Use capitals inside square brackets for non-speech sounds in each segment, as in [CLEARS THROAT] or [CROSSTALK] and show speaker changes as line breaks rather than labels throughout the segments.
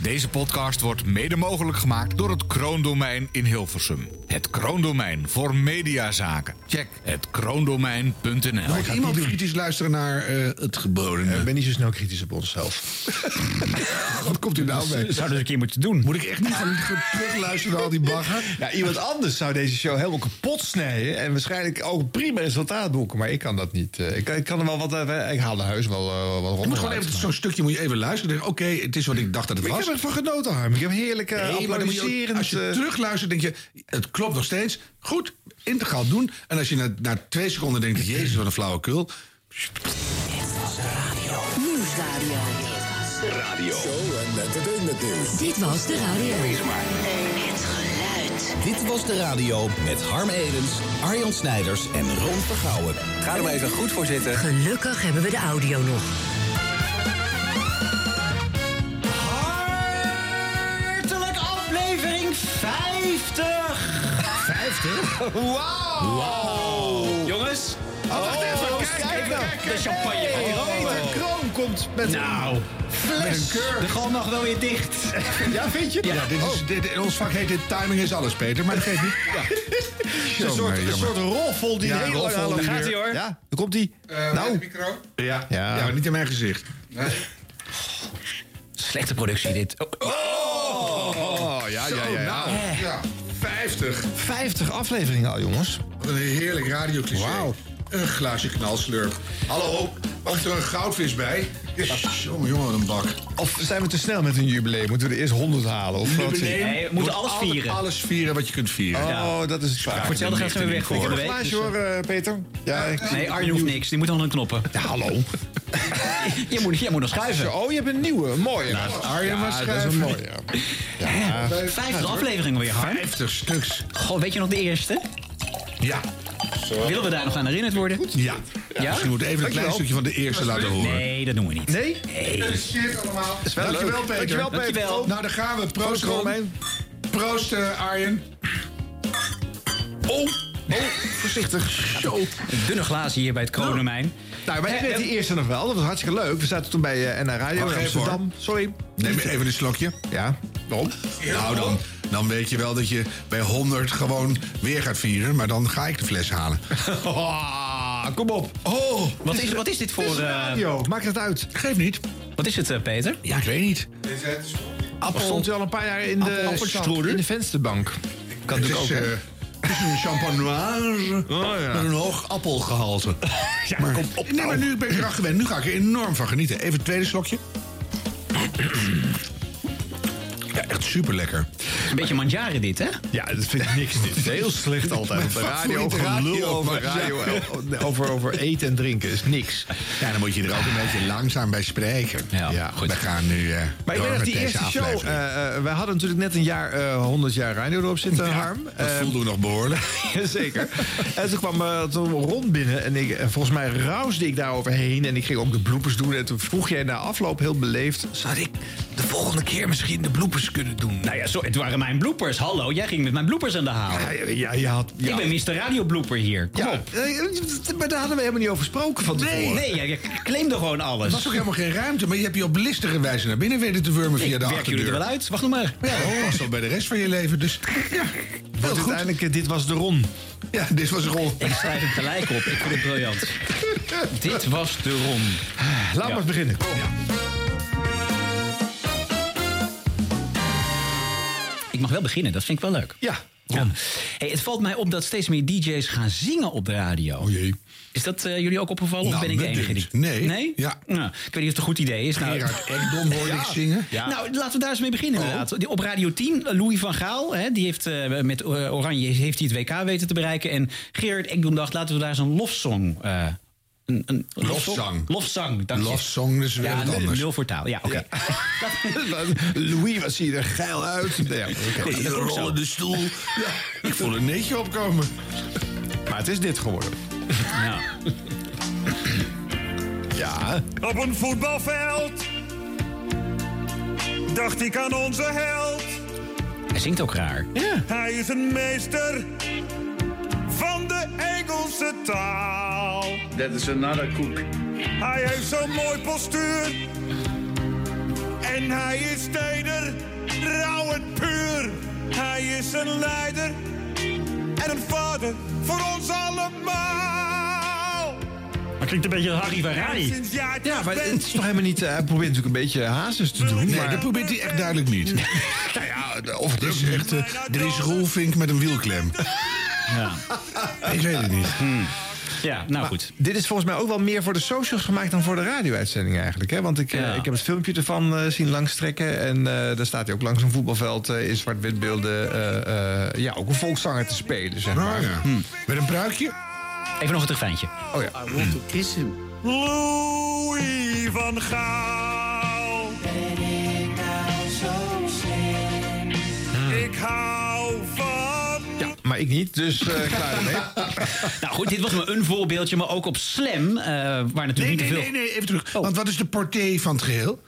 Deze podcast wordt mede mogelijk gemaakt door het Kroondomein in Hilversum. Het Kroondomein voor mediazaken. Check het kroondomein.nl.
Moet iemand kritisch luisteren naar eh, het gebodene? ben niet zo snel kritisch op onszelf. [LAUGHS] Wat komt u nou mee?
Zouden we een keer moeten doen.
Moet ik echt niet gaan gaan terugluisteren naar al die bagger?
[LAUGHS] Ja, iemand anders zou deze show helemaal kapot snijden. En waarschijnlijk ook een prima resultaat boeken. Maar ik kan dat niet. eh, Ik, ik kan er wel wat. eh, Ik haal de huis wel eh, wat
Je moet gewoon
uit.
even zo'n stukje moet je even luisteren. Denk, Oké, het is wat ik dacht dat het
Maar ik
was.
heb ervan genoten, Harm. Ik heb heerlijk eh
Nee, maar dan moet je ook-
applaudisserend,
als je
eh,
terugluistert, denk je, het klopt nog steeds. Goed, integraal doen. En als je na, na twee seconden denkt, jezus, wat een flauwekul.
Nieuwsradio.
Radio.
Show en entertainment nieuws.
Dit was de radio.
Het geluid.
Dit was de radio met Harm Edens, Arjan Snijders en Ron Vergouwen. Ga er maar even goed voor zitten.
Gelukkig hebben we de audio nog.
Hartelijk aflevering 50!
50?
Wauw!
Jongens,
Oh,
Wacht even,
kijk, kijk,
nou.
kijk,
de champagne van Ron.
Peter Kroon komt met
Nou,
fles.
de gal mag wel weer dicht.
Ja, vind je?
Ja, dit is, dit, in ons vak heet dit timing is alles, Peter. Maar dat geeft niet. [LAUGHS]
Het is een soort, een soort roffel die
Ja,
heel
roffel,
lang aan
daar
elkaar-
gaat-ie, hoor.
Ja, daar komt hij.
Eh,
nou,
Eh, micro? Ja.
Ja.
Ja. maar niet in mijn gezicht.
Slechte productie dit. Oh,
oh, ja, ja, ja. ja.
Nou, ja. 50.
50 afleveringen al, jongens.
Wat een heerlijk radiocliché.
Wauw.
Een glaasje knalslurp. Hallo, wacht er een goudvis bij? Jongen, jongen, wat een bak.
Of zijn we te snel met een jubileum? Moeten we er eerst 100 halen? Of wat?
Nee, we moeten
Moet
alles
altijd
vieren.
alles vieren wat je kunt vieren.
Oh, dat is het vaak.
Voor hetzelfde geld zijn we weg voor de
Een
week. dus,
glaasje hoor, eh, Peter. Ja, ik-
Nee, Arjen hoeft niks. Die moet al aan de knoppen.
Ja, hallo.
[LAUGHS] Je moet, je moet nog schuiven. Nou,
Oh, je hebt een nieuwe. Een mooie.
Arjen was
dat is een
schrijver.
mooie.
Vijfde aflevering weer, Harm.
50 stuks.
Goh, weet je nog de eerste?
Ja.
Willen we daar nog aan herinnerd worden?
Ja.
Ja?
Misschien moet ik even een klein
Dankjewel.
stukje van de eerste laten horen.
Nee, dat doen we niet.
Nee?
Oh,
allemaal.
Is wel
Dankjewel,
leuk.
Peter.
Dankjewel, Peter.
Dankjewel.
Nou, daar gaan we. Proost,
Proost,
Ron.
Romein.
Proost, eh, Arjen.
Oh, oh, voorzichtig. Zo.
Een dunne glazen hier bij het Kronomijn.
Nou, wij hebben
Eh,
net die eerste nog wel. Dat was hartstikke leuk. We zaten toen bij eh NH Radio
Wacht
in
even,
Amsterdam. Sorry.
Neem even een slokje.
Ja.
Waarom? Nou, dan, dan weet je wel dat je bij 100 gewoon weer gaat vieren. Maar dan ga ik de fles
[LAUGHS]
halen.
kom op.
Oh,
Wat is, wat is dit
Dit
voor...
is een
eh,
radio. Maakt het uit.
geef niet.
wat is het, eh, Peter?
Ja, ik weet niet.
Appel. Stond u al een paar jaar in de,
Appelstroeder?
in de vensterbank. Kan
Het
natuurlijk ook.
is,
hè? Oh,
eh, het is een champagnoise met een
[LAUGHS]
hoog appelgehalte. ja, maar,
nou.
nee, maar nu ben ik eraan gewend. Nu ga ik er enorm van genieten. Even het tweede slokje. [CLEARS THROAT] Ja, echt super lekker.
Een beetje
Ah.
manjaren dit, hè?
Ja, dat vind ik niks. Dit is heel slecht altijd. Op de radio
favoriete
over
radio,
lul, over,
maar-
radio, eh, over, over eten en drinken is niks.
Ja, dan moet je er ook een beetje langzaam bij spreken.
Ja, goed.
We gaan nu eh
Maar ik weet
door
dat
met
die
deze
eerste show...
aflevering.
eh, eh, wij hadden natuurlijk net een jaar, eh, 100 jaar radio erop zitten, Harm.
Dat
Eh,
voelde we nog behoorlijk.
[LAUGHS] Zeker. En toen kwam eh, toen Ron binnen en ik, en volgens mij rausde ik daar overheen. En ik ging ook de bloepers doen. En toen vroeg jij na afloop heel beleefd... Zou ik de volgende keer misschien de bloepers kunnen doen?
Nou ja, zo, het waren mijn bloopers. Hallo, jij ging met mijn bloopers aan de haal.
Ja, ja, ja, je had... Ja.
Ik ben Mr. Radio Blooper hier. Kom
Ja,
op.
eh, maar daar hadden we helemaal niet over gesproken van tevoren.
Nee, nee, jij jij claimde gewoon
Er
alles.
was ook helemaal geen ruimte, maar je hebt je op listige wijze naar binnen weten te wurmen via
Ik
de
werk jullie er wel
achterdeur.
uit. Wacht nog maar. Oh.
Ja, dat past al bij de rest van je leven, dus ja, heel
Want
goed.
uiteindelijk, eh, dit was de Ron.
Ja, dit was een rol.
Ik schrijf het gelijk op. Ik vind het
[LAUGHS]
briljant. Dit was de rom.
Laat maar eens beginnen.
Ik mag wel beginnen, dat vind ik wel leuk.
Ja.
Ja. Hey, het valt mij op dat steeds meer DJ's gaan zingen op de radio.
Oh jee.
Is dat eh, jullie ook opgevallen? of
Nou,
ben ik de
me
enige die...
dunkt. Nee.
Nee?
Ja.
Nou, ik weet niet of het een goed idee is. Nou,
Gerard Ekdom hoorde ik zingen. Oh.
[LAUGHS] Ja. Nou, laten we daar eens mee beginnen inderdaad. Die- Op Radio 10, Louis van Gaal, hè, die heeft, eh, met eh, Oranje heeft hij het WK weten te bereiken. En Gerard Ekdom dacht, laten we daar eens een lofsong... eh een, een
Lofzang.
Lofzang, dank je.
Lofzong, dus weer
Ja,
wat anders.
nul voor taal. Ja, oké.
[LAUGHS]
Louis was hier er geil uit. [LAUGHS] Nou ja, oké.
Hey,
dat komt zo.
rollende stoel. Ja, ik voel een neetje opkomen.
Maar het is dit geworden.
Nou.
Ja.
Op een voetbalveld dacht ik aan onze held.
Hij zingt ook raar.
Hij is een meester van de Engelse taal.
That is another cook.
Hij heeft zo'n mooi postuur en hij is teder. Rauwend puur, hij is een leider en een vader voor ons allemaal.
Maar klinkt een beetje Harry van Rij.
Sinds jij
Ja, maar het is toch helemaal niet... eh, hij probeert natuurlijk een beetje hazes te doen.
Nee,
maar-
dat probeert hij echt duidelijk niet. [LAUGHS] nou ja, of het is echt eh, Dries Roelvink met een wielklem. Ik weet het niet.
Hmm. Ja, nou goed.
Dit is volgens mij ook wel meer voor de socials gemaakt dan voor de radio-uitzending eigenlijk. Hè? Want ik, eh,
Ja.
ik heb het filmpje ervan eh, zien langstrekken. En eh, daar staat hij ook langs een voetbalveld eh, in zwart-wit beelden. eh, eh, ja, ook een volkszanger te spelen, zeg maar.
Oh, ja. Met een pruikje?
Hmm. Even nog een terfijntje.
Oh ja.
Louis van Gaal. Ik hou van
ja, maar ik niet, dus eh klaar ermee.
[LAUGHS] Nou goed, dit was maar een voorbeeldje, maar ook op Slam, eh, waar natuurlijk
Nee,
niet te
nee,
veel...
nee, nee, even terug.
Oh.
Want wat is de portée van het geheel?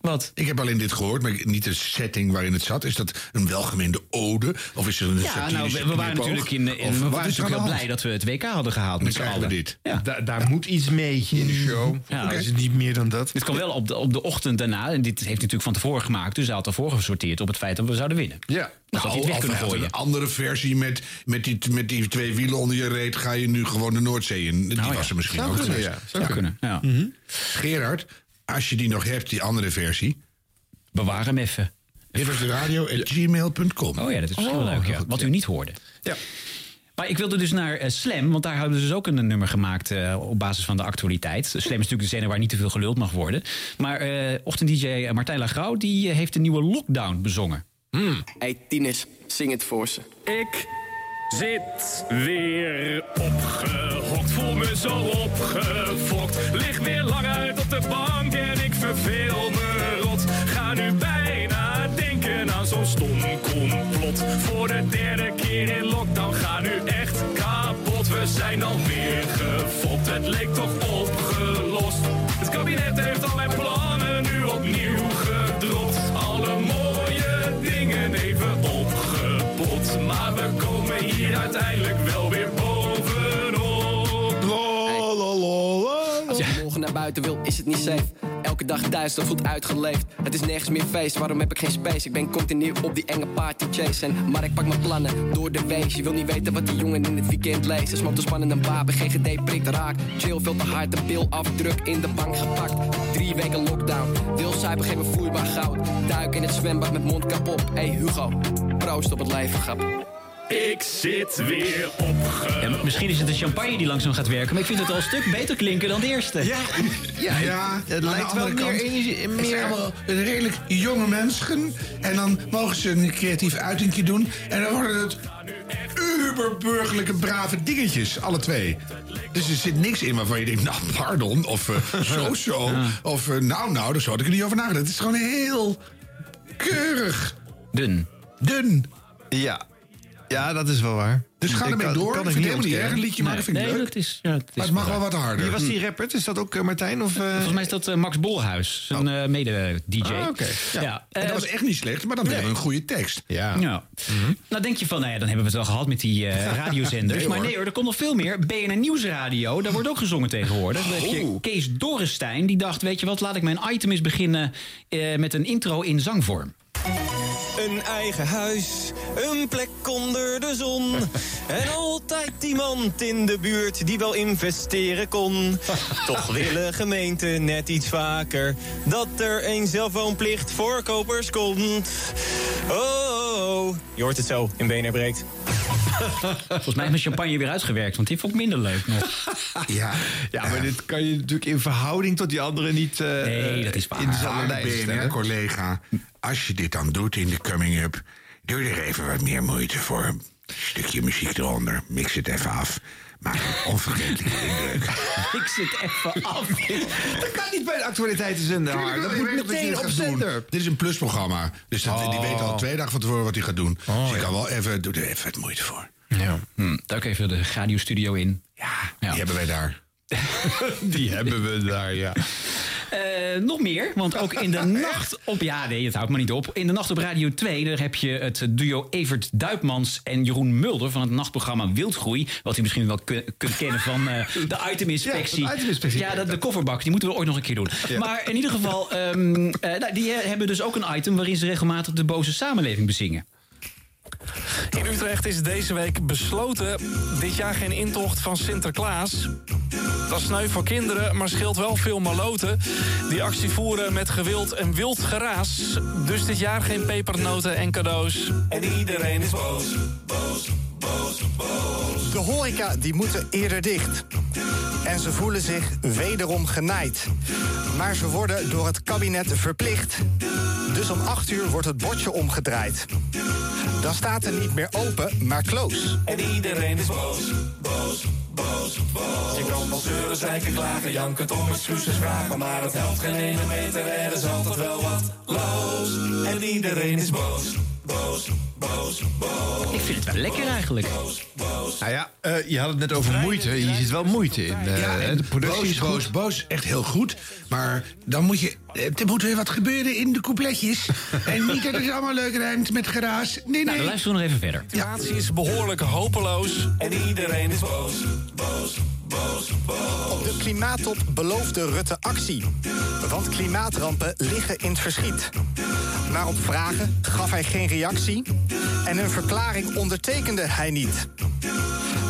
Wat?
Ik heb alleen dit gehoord, maar ik- niet de setting waarin het zat. Is dat een welgemeende ode? Of is er
Dus
een
Ja, nou, we, we waren natuurlijk, in, in- we waren natuurlijk heel blij dat we het WK hadden gehaald met z'n
krijgen we
allen.
dit.
Ja. Mhm.
Da- daar moet iets mee in de show.
Ja,
Ja,
oké.
Is het niet meer dan dat?
Dit kwam wel op de, op de ochtend daarna. En dit heeft hij natuurlijk van tevoren gemaakt. Dus hij had ervoor gesorteerd op het feit dat we zouden winnen.
Ja.
Nou,
Dat had hij het weg kunnen gooien.
een andere versie met, met, die, met die twee wielen onder je reet... ga je nu gewoon de Noordzee in. Die was er misschien
Zou
ook
kunnen,
geweest.
ja.
Nou Zou kunnen. Ja.
Gerard, als je die nog hebt, die andere versie...
Bewaar hem even.
Dit was de radio at gmail.com.
Oh ja, dat is misschien wel leuk. ja. Wat u niet hoorde.
Ja.
Maar ik wilde dus naar eh, Slam, want daar hebben ze dus ook een nummer gemaakt eh, op basis van de actualiteit. Slam is natuurlijk de zender waar niet te veel geluld mag worden. Maar eh ochtend-dj Martijn Lagrau, die eh, heeft de nieuwe Lockdown bezongen.
Hey Tines, zing het voor ze.
Hmm. Ik zit weer opgehokt, voel me zo opgefokt. Lig weer lang uit op de bank en ik verveel me rot. Ga nu bijna denken aan zo'n stom complot. Voor de
Eh,
derde keer in lockdown, ga nu echt kapot. We zijn alweer gefopt, het leek toch opgelost. Het kabinet heeft al mijn plannen nu opnieuw gedropt. Alle mooie dingen even opgepot. Maar we komen hier uiteindelijk wel weer bovenop.
Als je morgen naar buiten wil, is het niet safe. Elke dag thuis, dat voelt uitgeleefd. Het is nergens meer feest, waarom heb ik geen space? Ik ben continu op die enge party chase. En, maar ik pak mijn plannen door de wees. Je wil niet weten wat die jongen in het weekend leest. Ze smokt een spannende wapen, GGD prikt raakt. Chill, veel te hard, de pil afdruk in de bank gepakt. Drie weken lockdown, wil zuipen, geven vloeibaar goud. Duik in het zwembad met mondkap op. Hey Hugo, proost op het leven, grap.
Ik zit weer opgefokt.
Ja, maar misschien is het de champagne die langzaam gaat werken, maar ik vind het al een stuk beter klinken dan de eerste. Ja,
Ja, het- het lijkt wel meer energie...
Het
Meer...
zijn allemaal redelijk jonge mensen. En dan mogen ze een creatief uitingje doen. En dan worden het uberburgerlijke brave dingetjes, alle twee. Dus er zit niks in waarvan je denkt, nou, pardon,
[LAUGHS]
of eh, zo, zo. Of eh, nou, nou, daar zou ik er niet over nagedacht. Het is gewoon heel keurig,
dun.
dun.
Ja. ja, dat is wel waar.
Dus ga
Ik
ermee
kan-
door.
kan
Ik
ik niet
vind het helemaal niet erg,
ontkennen.
een liedje, maar dat vind ik
nee,
leuk.
dat is. Ja, dat is
Maar het mag
waar.
wel wat harder.
Wie was die rapper? Is dat ook eh, Martijn? Of, eh,
[LAUGHS]
Volgens mij is dat eh, Max Bolhuis, zijn
Oh.
eh, mede-DJ.
Ah, oké.
Ja.
En dat
eh,
was echt niet slecht, maar dan wel een goede tekst.
Ja.
Ja. Nou denk je van, nou ja, dan hebben we het wel gehad met die
[LAUGHS]
eh, radiozenders.
Dus
Nee,
maar
hoor.
nee hoor, er komt nog veel meer. BNN Nieuwsradio, daar wordt ook gezongen tegenwoordig. Dan heb je
Oh.
Kees Dorrestein, die dacht, weet je wat, laat ik mijn item eens beginnen eh, met een intro in
[LAUGHS]
zangvorm.
Een eigen huis, een plek onder de zon. En altijd iemand in de buurt die wel investeren kon. Toch willen gemeenten net iets vaker dat er een zelfwoonplicht voor kopers komt. Oh, oh, oh. je hoort het zo in Benen breekt.
Volgens mij is mijn champagne weer uitgewerkt, want die vond ik minder
[LAUGHS]
leuk nog.
Ja,
Ja, maar dit kan je natuurlijk in verhouding tot die anderen niet eh,
Nee, dat is waar.
in dezelfde
Maar
lijst stellen.
BNR-collega, als je dit dan doet in de coming up... doe er even wat meer moeite voor. Stukje muziek eronder, mix het even af. Maak [LAUGHS] een onvergetelijke indruk.
ik zit
[LAUGHS]
even af.
Dat kan niet bij de actualiteitenzender. Harm. Dat moet meteen op zender.
Eh, Dit is een plusprogramma. Dus dat, die weet al twee dagen van tevoren wat hij gaat doen. dus je kan wel even, doe er even wat moeite voor.
Ja. Hm, duik even de radiostudio in. [LAUGHS]
Ja, die hebben wij daar.
Die hebben we daar, ja.
Eh, nog meer, want ook in de nacht op... Ja, nee, het houdt me niet op. In de nacht op Radio 2 daar heb je het duo Evert Duipmans en Jeroen Mulder... van het nachtprogramma Wildgroei. Wat u misschien wel kun- kunt kennen van eh, [LAUGHS] de iteminspectie.
Ja, de iteminspectie.
Ja, dat- de kofferbak, die moeten we ooit nog een keer doen. Maar in ieder geval, [LAUGHS] ehm, eh, nou, die eh, hebben dus ook een item... waarin ze regelmatig de boze samenleving bezingen.
In Utrecht is deze week besloten dit jaar geen intocht van Sinterklaas. Dat is sneu voor kinderen, maar scheelt wel veel maloten. Die actie voeren met gewild en wild geraas. Dus dit jaar geen pepernoten en cadeaus. En iedereen is boos.
De horeca die moeten eerder dicht. En ze voelen zich wederom genaaid. Maar ze worden door het kabinet verplicht. Dus om 8 uur wordt het bordje omgedraaid. Dan staat er niet meer open, maar close.
En iedereen is boos, boos, boos, boos. Je kan wel zeuren, zeiken, klagen, janken, om excuses vragen. Maar het helpt geen ene meter, er is altijd wel wat los. En iedereen is boos, boos, boos, boos.
Ik vind het wel lekker eigenlijk.
Nou ja, eh, je had het net over moeite. Hier zit wel moeite in. eh,
Ja,
hè,
en
de productie
boos,
is goed.
boos, boos. Echt heel goed. Maar dan moet je... eh, Er moet weer wat gebeuren in de [LAUGHS] coupletjes. en niet dat het allemaal leuk rijmt met geraas. Nee, nee.
Nou, dan luisteren
we nog even verder.
De situatie is behoorlijk hopeloos. En iedereen is boos, boos, boos, boos.
Op de klimaattop beloofde Rutte actie. Want klimaatrampen liggen in het verschiet. Maar op vragen gaf hij geen reactie. En een verklaring ondertekende hij niet.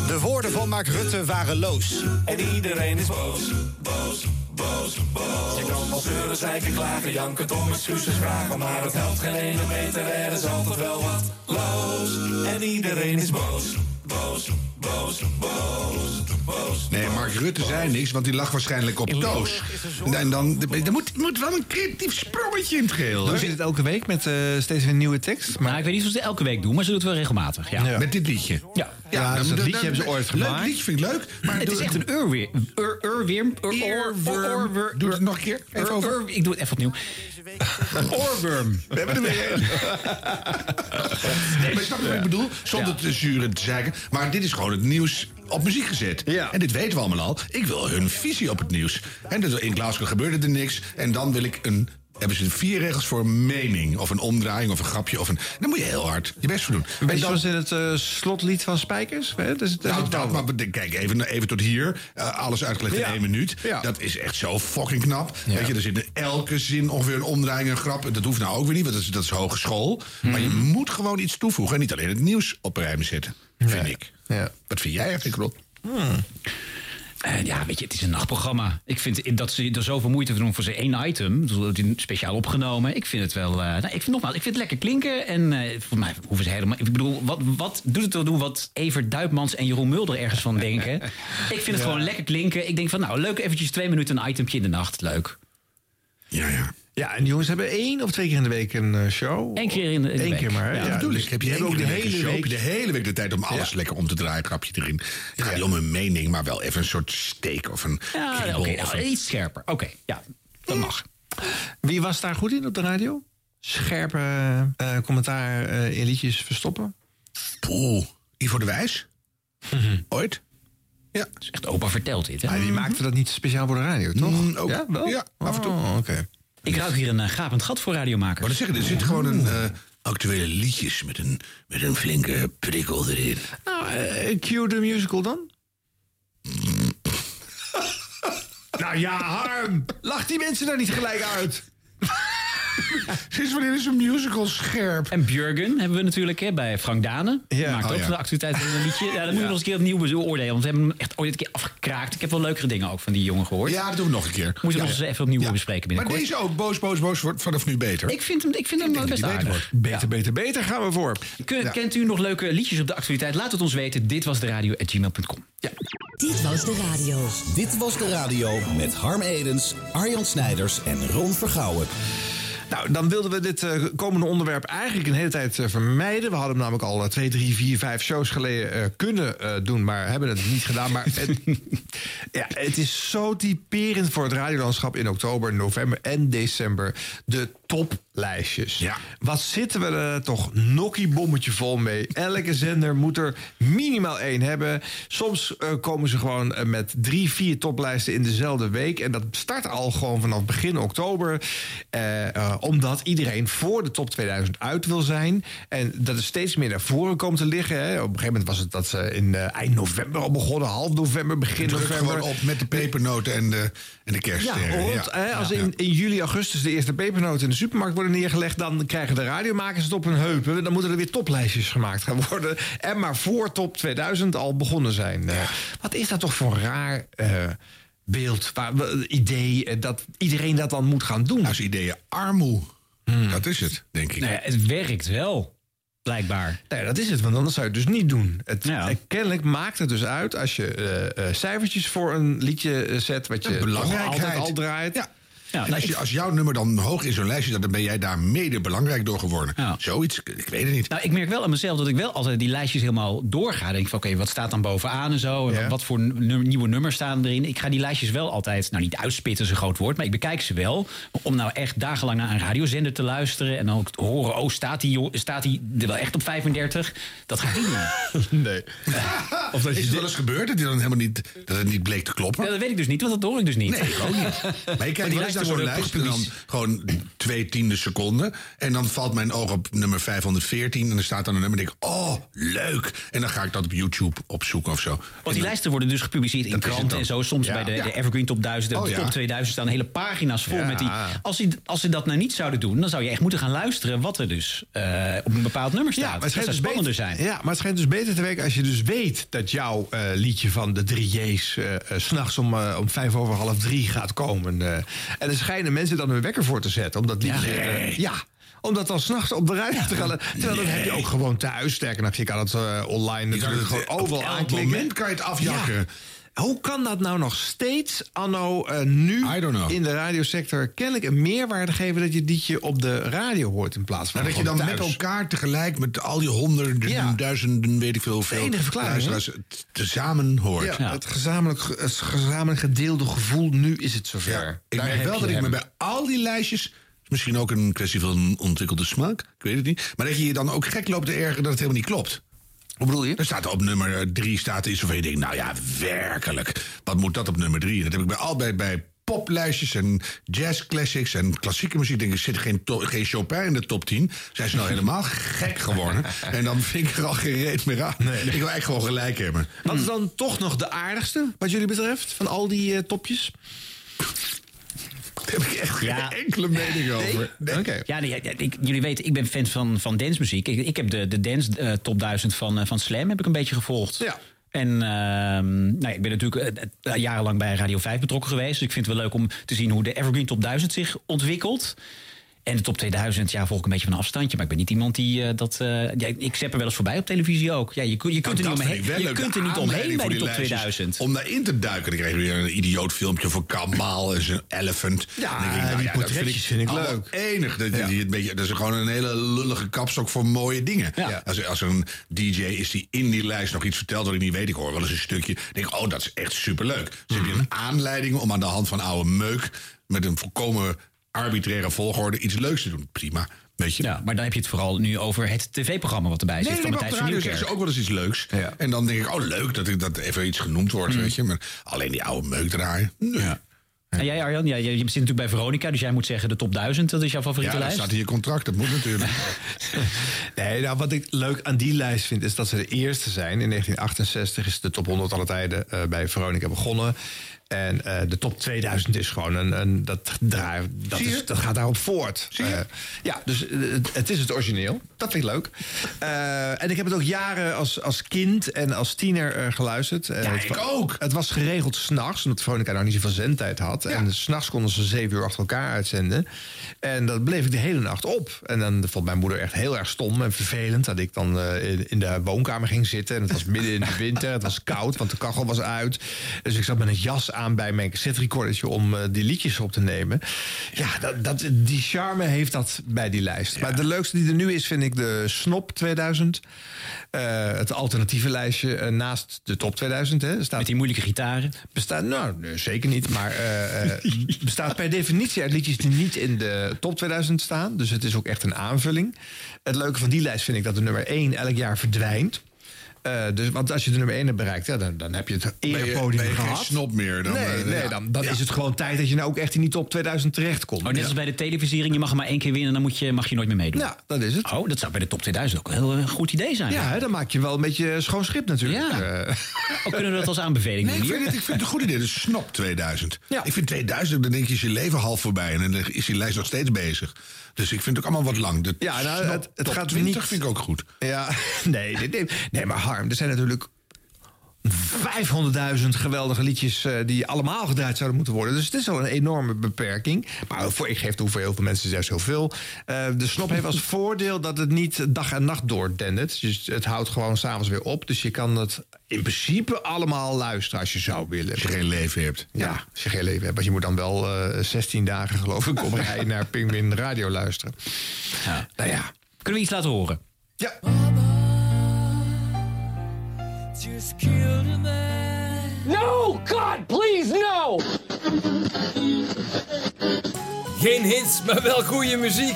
De woorden van Mark Rutte waren loos.
En iedereen is boos, boos, boos, boos. Je kan wel zeuren, zeiken, klagen, janken, om excuses vragen. Maar het helpt geen ene meter, er is altijd wel wat los. En iedereen is boos, boos, boos, boos, boos.
Nee, Mark Rutte zei niks, want die lag waarschijnlijk op doos. En dan, er moet, moet wel een creatief sprongetje in het geheel.
Doen ze dit elke week met eh, steeds weer een nieuwe tekst?
Maar Nou, ik weet niet of ze het elke week doen, maar ze doen het wel regelmatig. Ja.
Met dit liedje?
Ja. nou,
Ja, dus dat liedje hebben ze ooit gemaakt.
Leuk liedje, vind ik leuk. Maar
het is echt een urweer. Ur, urwirm. Ur,
Doe het nog een keer. Even over.
ik doe het even opnieuw.
[LAUGHS]
Oorworm.
We hebben er
[LAUGHS]
weer een. Maar snap je wat ik bedoel? Zonder te zuren te zeiken. Maar dit is gewoon het nieuws op muziek gezet. En dit weten we allemaal al. Ik wil hun visie op het nieuws. En dat- in Glasgow gebeurde er niks. En dan wil ik een... Hebben ze vier regels voor een mening. Of een omdraaiing, of een grapje. Of een, dan moet je heel hard je best voor doen.
Beetje zoals in het eh, slotlied van Spijkers. Hè? Dus, het-
Nou, dat, maar bedenk- kijk, even, even tot hier. Eh, alles uitgelegd in één minuut. Dat is echt zo fucking knap. Weet je, er zit in elke zin ongeveer een omdraaiing, een grap. Dat hoeft nou ook weer niet, want dat is, dat is hogeschool. Maar je moet gewoon iets toevoegen. En niet alleen het nieuws op een rijm zetten, vind ik. Wat vind jij eigenlijk, Rob?
Hmm.
Eh, ja, weet je, het is een nachtprogramma. Ik vind dat ze er zoveel moeite voor doen voor zijn één item. Ik bedoel, het is speciaal opgenomen. Ik vind het wel... eh, nou, ik vind, nogmaals, ik vind het lekker klinken. En eh volgens mij hoeven ze helemaal... Ik bedoel, wat, wat doet het er doen wat Evert Duipmans en Jeroen Mulder ergens van
[LAUGHS]
denken? ik vind het
Ja.
gewoon lekker klinken. Ik denk van, nou, leuk eventjes twee minuten een itempje in de nacht. Leuk.
Ja, en die jongens hebben één of twee keer in de week een eh, show.
Eén keer in de, in de
Eén
week.
keer maar. hè?
Ja,
Ja,
natuurlijk.
dus
heb je
die
één
hebben
keer
ook de
in week een
hele
show, heb
week.
je de hele week de tijd om alles lekker om te draaien, grapje erin. Het gaat niet om een mening, maar wel even een soort steek of een
Ja,
kriebel
oké,
of
nou,
een- Eh,
iets scherper. Oké, ja, dat mag.
Wie was daar goed in op de radio? Scherpe eh, commentaar eh, in liedjes verstoppen.
Poeh, Ivo de Wijs?
Mhm.
Ooit? Ja.
echt opa vertelt dit, hè?
die maakte dat niet speciaal voor de radio, toch?
Mm, ook.
Ja, wel?
Ja, af en toe.
Oh, oké.
Ik ruik hier een eh, gapend gat voor radiomakers.
Maar dan zeggen, er zit gewoon een eh, actuele liedjes met een, met een flinke prikkel erin.
Nou, eh, cue the musical dan. nou ja, Harm. Lach die mensen nou niet gelijk uit.
Sinds wanneer is een musical scherp?
En Björgen hebben we natuurlijk hè, bij Frank Danen. Die maakt
Oh,
ook
ja.
van de actualiteit van een liedje. Ja, dat moet je
Ja.
nog eens een keer opnieuw beoordelen. Want we hebben hem echt ooit een keer afgekraakt. Ik heb wel leukere dingen ook van die jongen gehoord.
Ja, dat doen we nog een keer.
Moeten we
Ja.
nog eens even opnieuw bespreken
Maar
binnenkort.
deze ook, boos, boos, boos, wordt vanaf nu beter.
Ik vind hem, ik vind hem wel best
beter
aardig.
Beter, beter, beter gaan we voor.
Kun- Kent u nog leuke liedjes op de actualiteit? Laat het ons weten. Dit was de radio at gmail.com.
Dit was de radio.
Dit was de radio met Harm Edens, Arjan Snijders en Ron Vergouwen.
Nou, dan wilden we dit eh, komende onderwerp eigenlijk een hele tijd eh, vermijden. We hadden hem namelijk al eh, twee, drie, vier, vijf shows geleden eh, kunnen eh, doen, maar hebben het niet gedaan. Maar het, [LAUGHS] ja, het is zo typerend voor het radiolandschap in oktober, november en december. De toplijstjes. Wat zitten we er toch nokkiebommetje vol mee. Elke zender moet er minimaal één hebben. Soms eh, komen ze gewoon eh, met drie, vier toplijsten in dezelfde week. En dat start al gewoon vanaf begin oktober. Eh, eh, omdat iedereen voor de top 2000 uit wil zijn. En dat is steeds meer naar voren komt te liggen. Hè. Op een gegeven moment was het dat ze in eh, eind november al begonnen. Half november, begin
Druk
november.
gewoon op met de pepernoten en de, en de kerststerren.
Ja, rond,
ja.
Hè, als
Ja.
in, in juli, augustus de eerste pepernoten in de supermarkt worden neergelegd... dan krijgen de radiomakers het op hun heupen. Dan moeten er weer toplijstjes gemaakt gaan worden. En maar voor top 2000 al begonnen zijn. Eh, Wat is dat toch voor een raar... eh, Beeld, waar, we- idee eh, dat iedereen dat dan moet gaan doen. Als
Nou, ideeën armoe.
Hmm.
Dat is het, denk ik.
Nou ja, het werkt wel, blijkbaar.
Nee, dat is het, want anders zou je het dus niet doen. Het, eh, Kennelijk maakt het dus uit als je eh, eh, cijfertjes voor een liedje eh, zet... wat je toch altijd al draait.
Ja.
Ja,
nou,
en als, je, als jouw nummer dan hoog in zo'n lijstje staat, dan ben jij daar mede belangrijk door geworden. Zoiets, ik- ik weet het niet.
Nou, ik merk wel aan mezelf dat ik wel altijd die lijstjes helemaal doorga. Denk van, oké, wat staat dan bovenaan en zo? En Wat voor nu- nieuwe nummers staan erin? Ik ga die lijstjes wel altijd, nou niet uitspitten is een groot woord... maar ik bekijk ze wel om nou echt dagenlang naar een radiozender te luisteren... en dan ook te horen, oh, staat die, jo- staat die er wel echt op 35? Dat ga ik niet doen.
[LAUGHS]
Eh.
Nee.
Of dat is het wel eens gebeurd dat, die dan helemaal niet, dat het niet bleek te kloppen?
Ja, dat weet ik dus niet, want dat hoor ik dus niet.
Nee, ik
[LAUGHS]
ook niet. Maar ik kijk
Want die
wel eens
lijsten
naar zo'n
worden
lijst en dan
gepubliceerd.
gewoon twee tiende seconden. En dan valt mijn oog op nummer 514 en er staat dan een nummer en denk ik, oh, leuk. En dan ga ik dat op YouTube opzoeken of zo.
Want die lijsten worden dus gepubliceerd in
Dat is het
kranten
dan.
en zo. Soms
Ja.
bij de,
Ja.
de Evergreen Top 1000 en
Oh,
de
ja.
Top 2000 staan hele pagina's vol
Ja.
met die. Als ze, als ze dat nou niet zouden doen, dan zou je echt moeten gaan luisteren wat er dus eh, op een bepaald nummer staat. dat zou spannender
beter,
zijn.
Ja, maar het schijnt dus beter te werken als je dus weet dat jouw eh, liedje van de drie J's eh, eh, 's s'nachts om, eh, om vijf over half drie gaat komen. eh. en er schijnen mensen dan hun wekker voor te zetten. Omdat liedje, eh, ja, om dat dan s'nachts op de radio te gaan. Terwijl dat heb je ook gewoon thuis. Sterker nog, je kan het eh, online natuurlijk
kan
gewoon
het, eh, op
overal
elk
aanklikken.
moment kan je het afjakken.
Ja. Hoe kan dat nou nog steeds, anno eh, nu, in de radiosector... kennelijk een meerwaarde geven dat je het liedje op de radio hoort... in plaats van
Nou, dat je dan
gewoon thuis.
met elkaar tegelijk met al die honderden, duizenden, weet ik veel, veel
enige verklaring, hè?
luisteraars t- tezamen hoort.
Ja, Het, gezamenlijk, ge- het gezamenlijk gedeelde gevoel, nu is het zover.
Ik
Daar
merk
heb
wel
je
dat ik me
hem.
bij al die lijstjes. Misschien ook een kwestie van ontwikkelde smaak, ik weet het niet. Maar dat je je dan ook gek loopt te ergeren dat het helemaal niet klopt.
Hoe bedoel je?
Er staat op nummer eh, drie staat iets of je denkt, nou ja, werkelijk. Wat moet dat op nummer drie? Dat heb ik bij al bij, bij poplijstjes en jazzclassics en klassieke muziek. Denk ik, zit geen, to- geen Chopin in de top 10. Zijn ze nou helemaal gek
[LAUGHS]
geworden? En dan vind ik er al geen reet meer aan. Ik wil eigenlijk gewoon gelijk hebben.
Wat is dan toch nog de aardigste, wat jullie betreft, van al die eh, topjes?
[LAUGHS] Daar heb ik echt
Ja.
geen enkele mening over.
Nee. Ja, nee, ja, ik, jullie weten, ik ben fan van, van dancemuziek. Ik, ik heb de, de dance eh, top 1000 van, eh, van Slam heb ik een beetje gevolgd. Ja. En ehm, nou, ja, ik ben natuurlijk eh, eh, jarenlang bij Radio 5 betrokken geweest. Dus ik vind het wel leuk om te zien hoe de Evergreen Top 1000 zich ontwikkelt. En de top 2000, ja, volg ik een beetje van een afstandje. Maar ik ben niet iemand die eh, dat... eh, ja, ik zep er wel eens voorbij op televisie ook. Ja, je, kun- je kunt er
Nou,
niet
dat vind ik wel
omheen, je
leuk.
kunt er
De
niet omheen
aanleiding
bij
voor
de
die
top
lijstjes
2000.
Om daarin te duiken. Dan kreeg je weer een idioot filmpje van Kamal en zijn elephant.
Ja,
En dan denk ik, nou
die
dat
portretjes vind ik
allemaal
leuk.
Enig. Dat,
Ja.
die, een beetje, dat is gewoon een hele lullige kapstok voor mooie dingen.
Ja.
Als, als een DJ is die in die lijst nog iets vertelt wat ik niet weet. Ik hoor wel eens een stukje. Dan denk ik, oh, dat is echt superleuk. Dus
Mhm.
heb je een aanleiding om aan de hand van oude meuk... met een volkomen arbitraire volgorde iets leuks te doen. Prima. Weet je?
Ja, maar dan heb je het vooral nu over het tv-programma wat erbij zit.
Nee,
van
nee, maar op
Matthijs
de
van
radio zeggen ze
Nieuwkerk.
ook wel eens iets leuks. En dan denk ik, oh leuk dat ik dat even iets genoemd
Hmm.
wordt, weet je. Maar alleen die oude meuk draaien. Ja.
En jij, Arjan, ja, je je zit natuurlijk bij Veronica, dus jij moet zeggen de top 1000, dat is jouw favoriete
Ja, dat
lijst.
staat in je contract, dat moet natuurlijk.
Nee, nou, wat ik leuk aan die lijst vind, is dat ze de eerste zijn. In 1968 is de top 100 alle tijden eh, bij Veronica begonnen. En eh, de top 2000 is gewoon een. een dat, draai, dat,
Zie je?
is, dat gaat daarop voort. Eh, ja, dus eh, het, het is het origineel. Dat vind ik leuk. Eh, en ik heb het ook jaren als, als kind en als tiener eh, geluisterd. Eh, het wa- Het was geregeld s'nachts, omdat Veronica nou niet zoveel zendtijd had. En s'nachts konden ze zeven uur achter elkaar uitzenden. En dat bleef ik de hele nacht op. En dan dat vond mijn moeder echt heel erg stom en vervelend... dat ik dan eh, in, in de woonkamer ging zitten. En het was midden in de winter, het was koud, want de kachel was uit. Dus ik zat met een jas aan bij mijn cassette recordertje om eh, die liedjes op te nemen. Ja, dat, dat, die charme heeft dat bij die lijst. Maar de leukste die er nu is, vind ik de Snop 2000. Eh, het alternatieve lijstje eh, naast de top 2000. Hè, staat, Met die
moeilijke gitaren?
Bestaat, nou, nee, zeker niet. Maar eh, eh, [LAUGHS] bestaat per definitie uit liedjes die niet in de top 2000 staan. Dus het is ook echt een aanvulling. Het leuke van die lijst vind ik dat de nummer 1 elk jaar verdwijnt. Eh, dus, want als je de nummer 1 hebt bereikt, ja, dan, dan heb je het
je-
erepodium
ben je geen
gehad.
snop meer, dan,
nee,
eh,
nee,
ja.
dan, dan
Ja.
is het gewoon tijd dat je nou ook echt in die top 2000 terechtkomt.
[LAUGHS] Oh, net als bij de televisiering, je mag er maar één keer winnen, dan moet je, mag je nooit meer meedoen.
Ja, dat is het.
Oh, dat zou bij de top 2000 ook wel een goed idee zijn.
Ja, hè, dan maak je wel een beetje schoon schip natuurlijk. Eh. Ja.
[LAUGHS] kunnen we dat als aanbeveling
Nee, ik vind, het, ik vind het een goed idee. Dus snap 2000. Ik vind 2000, dan denk je, is je leven half voorbij. En dan is die lijst nog steeds bezig. Dus ik vind het ook allemaal wat lang. De
Ja, nou,
Snop
het- het
top
gaat
20
niet-
vind ik ook goed.
Ja, [LAUGHS] nee, nee, nee, nee, maar Harm, er zijn natuurlijk 500.000 geweldige liedjes eh, die allemaal gedraaid zouden moeten worden. Dus het is al een enorme beperking. Maar voor, ik geef toe, voor heel veel mensen is er zoveel. Eh de snop heeft als voordeel dat het niet dag en nacht doordendert. Dus het houdt gewoon s'avonds weer op. Dus je kan dat in principe allemaal luisteren als je zou willen. Als je
geen leven hebt.
Ja, als je geen leven hebt. Want je moet dan wel eh, 16 dagen, geloof ik, om rij naar Pingwin Radio luisteren. Nou ja.
Kunnen we iets laten horen?
Ja.
Just killed a man. No, God, please, no!
Geen hits, maar wel goede muziek.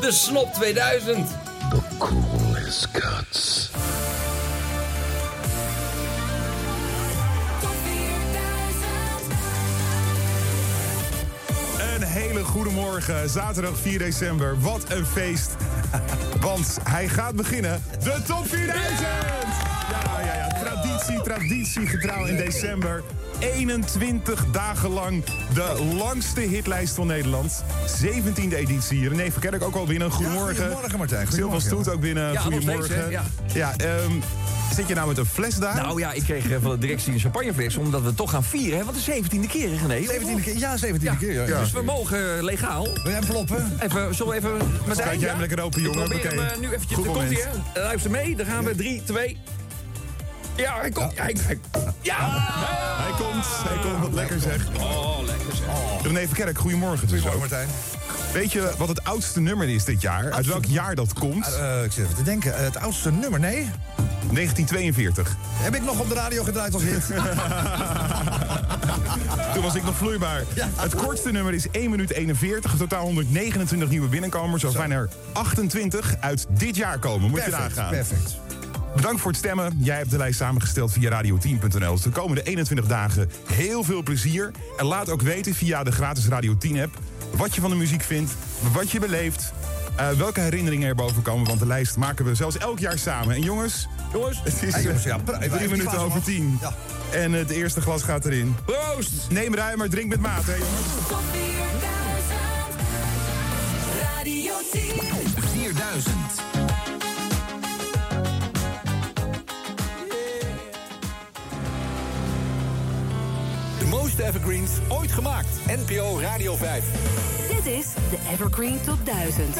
De Snop 2000.
Coolest guts.
Een hele goede morgen, zaterdag 4 december. Wat een feest. [LAUGHS] Want hij gaat beginnen, de top 4000! Ja, ja, ja. Traditie, traditie, getrouw in december. 21 dagen lang de langste hitlijst van Nederland. 17e editie. René Verkerk ook al binnen. Goedemorgen.
goedemorgen, Martijn.
Sylvan
Goedemorgen.
Stoet ook binnen.
Ja, nog steeds,
goedemorgen.
hè? Ja.
Ja, ehm, zit je nou met een fles daar?
Nou ja, ik kreeg eh, van de directie een champagnefles, omdat we toch gaan vieren. Hè? Wat de 17e keer, René?
17e keer? Ja, 17e keer, ja.
Dus we mogen eh, legaal. Wil jij ploppen? Even, zullen we even... Martijn,
Kijk jij hem lekker open, jongen.
Ik probeer hem
Oké.
eh, nu eventjes.
Goed
Daar komt hij,
moment.
hè. Luister mee, daar gaan we. 3, 2... Ja, hij komt. Ja! Hij, hij- ja!
Hij komt, hij komt. Wat lekker zeg.
Oh, lekker zeg.
René Verkerk, goedemorgen. Goedemorgen, Martijn. Weet je wat het oudste nummer is dit jaar? Uit welk jaar dat komt? ik zit even te denken. het oudste nummer, nee? 1942.
Heb ik nog op de radio gedraaid als
[LAUGHS]
hit?
Toen was ik nog vloeibaar. Het kortste nummer is 1 minuut 41. Totaal 129 nieuwe binnenkomers. Zo zijn er 28 uit dit jaar komen. Moet je
Perfect,
nagaan.
perfect.
Bedankt voor het stemmen. Jij hebt de lijst samengesteld via radio10.nl. Dus de komende 21 dagen heel veel plezier. En laat ook weten via de gratis Radio 10-app... wat je van de muziek vindt, wat je beleeft... eh, welke herinneringen er boven komen. Want de lijst maken we zelfs elk jaar samen. En jongens... Jongens? Het is
Hey, jongens, ja,
eh,
pra-
drie
even
minuten
glazen,
over
man.
tien. En het eerste glas gaat erin.
Proost!
Neem ruim, maar drink met maat, hè jongens.
Radio 10.
4000. De most evergreens ooit gemaakt. NPO Radio 5.
Dit is de Evergreen Top 1000.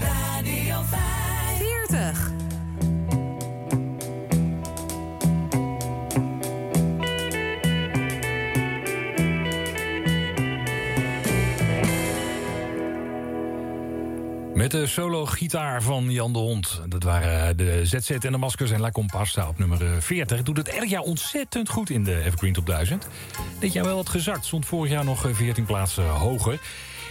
Radio 5.
40.
Met de solo-gitaar van Jan de Hond. Dat waren de ZZ en de Maskers en La Comparsa op nummer eh, 40. Doet het elk jaar ontzettend goed in de Evergreen Top 1000. Dit jaar wel wat gezakt. Stond vorig jaar nog eh, 14 plaatsen hoger.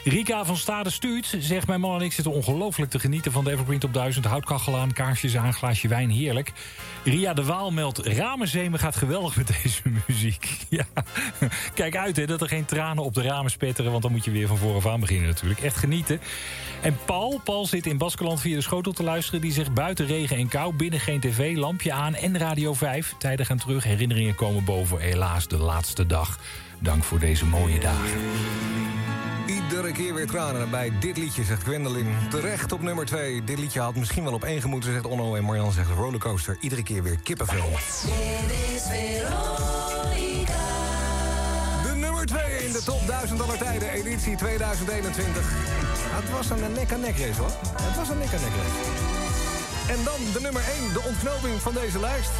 Rika van Stade stuurt. Zegt mijn man en ik zitten ongelooflijk te genieten van de Evergreen Top 1000. Houtkachel aan, kaarsjes aan, glaasje wijn. Heerlijk. Ria de Waal meldt. Ramenzemen gaat geweldig met deze [LAUGHS] muziek. Ja. Kijk uit hè, dat er geen tranen op de ramen spetteren. Want dan moet je weer van vooraf aan beginnen natuurlijk. Echt genieten. En Paul, Paul zit in Baskeland via de schotel te luisteren. Die zegt buiten regen en kou, binnen geen tv, lampje aan en Radio 5. Tijden gaan terug, herinneringen komen boven. Helaas de laatste dag. Dank voor deze mooie dagen.
Iedere keer weer tranen bij dit liedje, zegt Gwendolyn. Terecht op nummer 2. Dit liedje had misschien wel op één gemoeten, zegt Onno. En Marjan zegt rollercoaster. Iedere keer weer kippenvel.
Dit is Veronica.
De nummer 2 in de top 1000 aller tijden, editie 2021. Het was een nek-aan-nek race hoor. Het was een nek-aan-nek race. En dan de nummer 1, de ontknoping van deze lijst.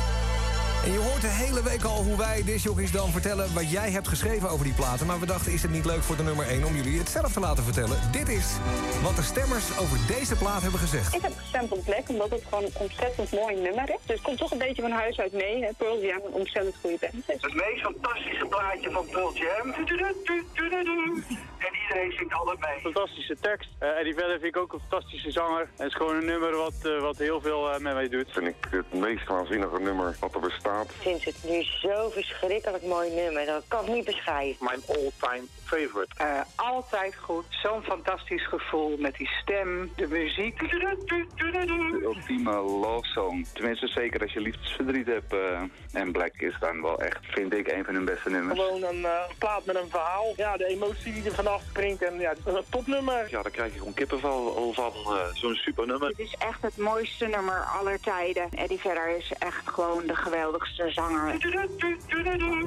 En je hoort de hele week al hoe wij discjockeys dan vertellen... wat jij hebt geschreven over die platen. Maar we dachten, is het niet leuk voor de nummer 1 om jullie het zelf te laten vertellen? Dit is wat de stemmers over deze plaat hebben gezegd.
Ik heb gestemd op Black, omdat het gewoon een ontzettend mooi nummer is. Dus het komt toch een beetje van huis uit mee. Hè. Pearl Jam, een ontzettend goede band is.
Het meest fantastische plaatje van Pearl Jam. En iedereen zingt altijd mee.
Fantastische tekst. Eh, Eddie Vedder vind ik ook een fantastische zanger. En het is gewoon een nummer wat, eh, wat heel veel eh, met mij doet.
vind ik het meest waanzinnige nummer wat er bestaat.
Ik vind het nu zo verschrikkelijk mooi nummer. Dat kan ik niet beschrijven.
Mijn all-time favorite.
Eh, altijd goed. Zo'n fantastisch gevoel met die stem, de muziek.
De ultieme love song. Tenminste, zeker als je liefdesverdriet hebt. eh, en Black is dan wel echt, vind ik, een van hun beste nummers.
Gewoon een eh, plaat met een verhaal. Ja, de emotie die er vanaf springt. En ja, het is een topnummer.
Ja, daar krijg je gewoon kippenval van. eh, Zo'n super nummer.
Het is echt het mooiste nummer aller tijden. Eddie Vedder is echt gewoon de geweldigste zanger.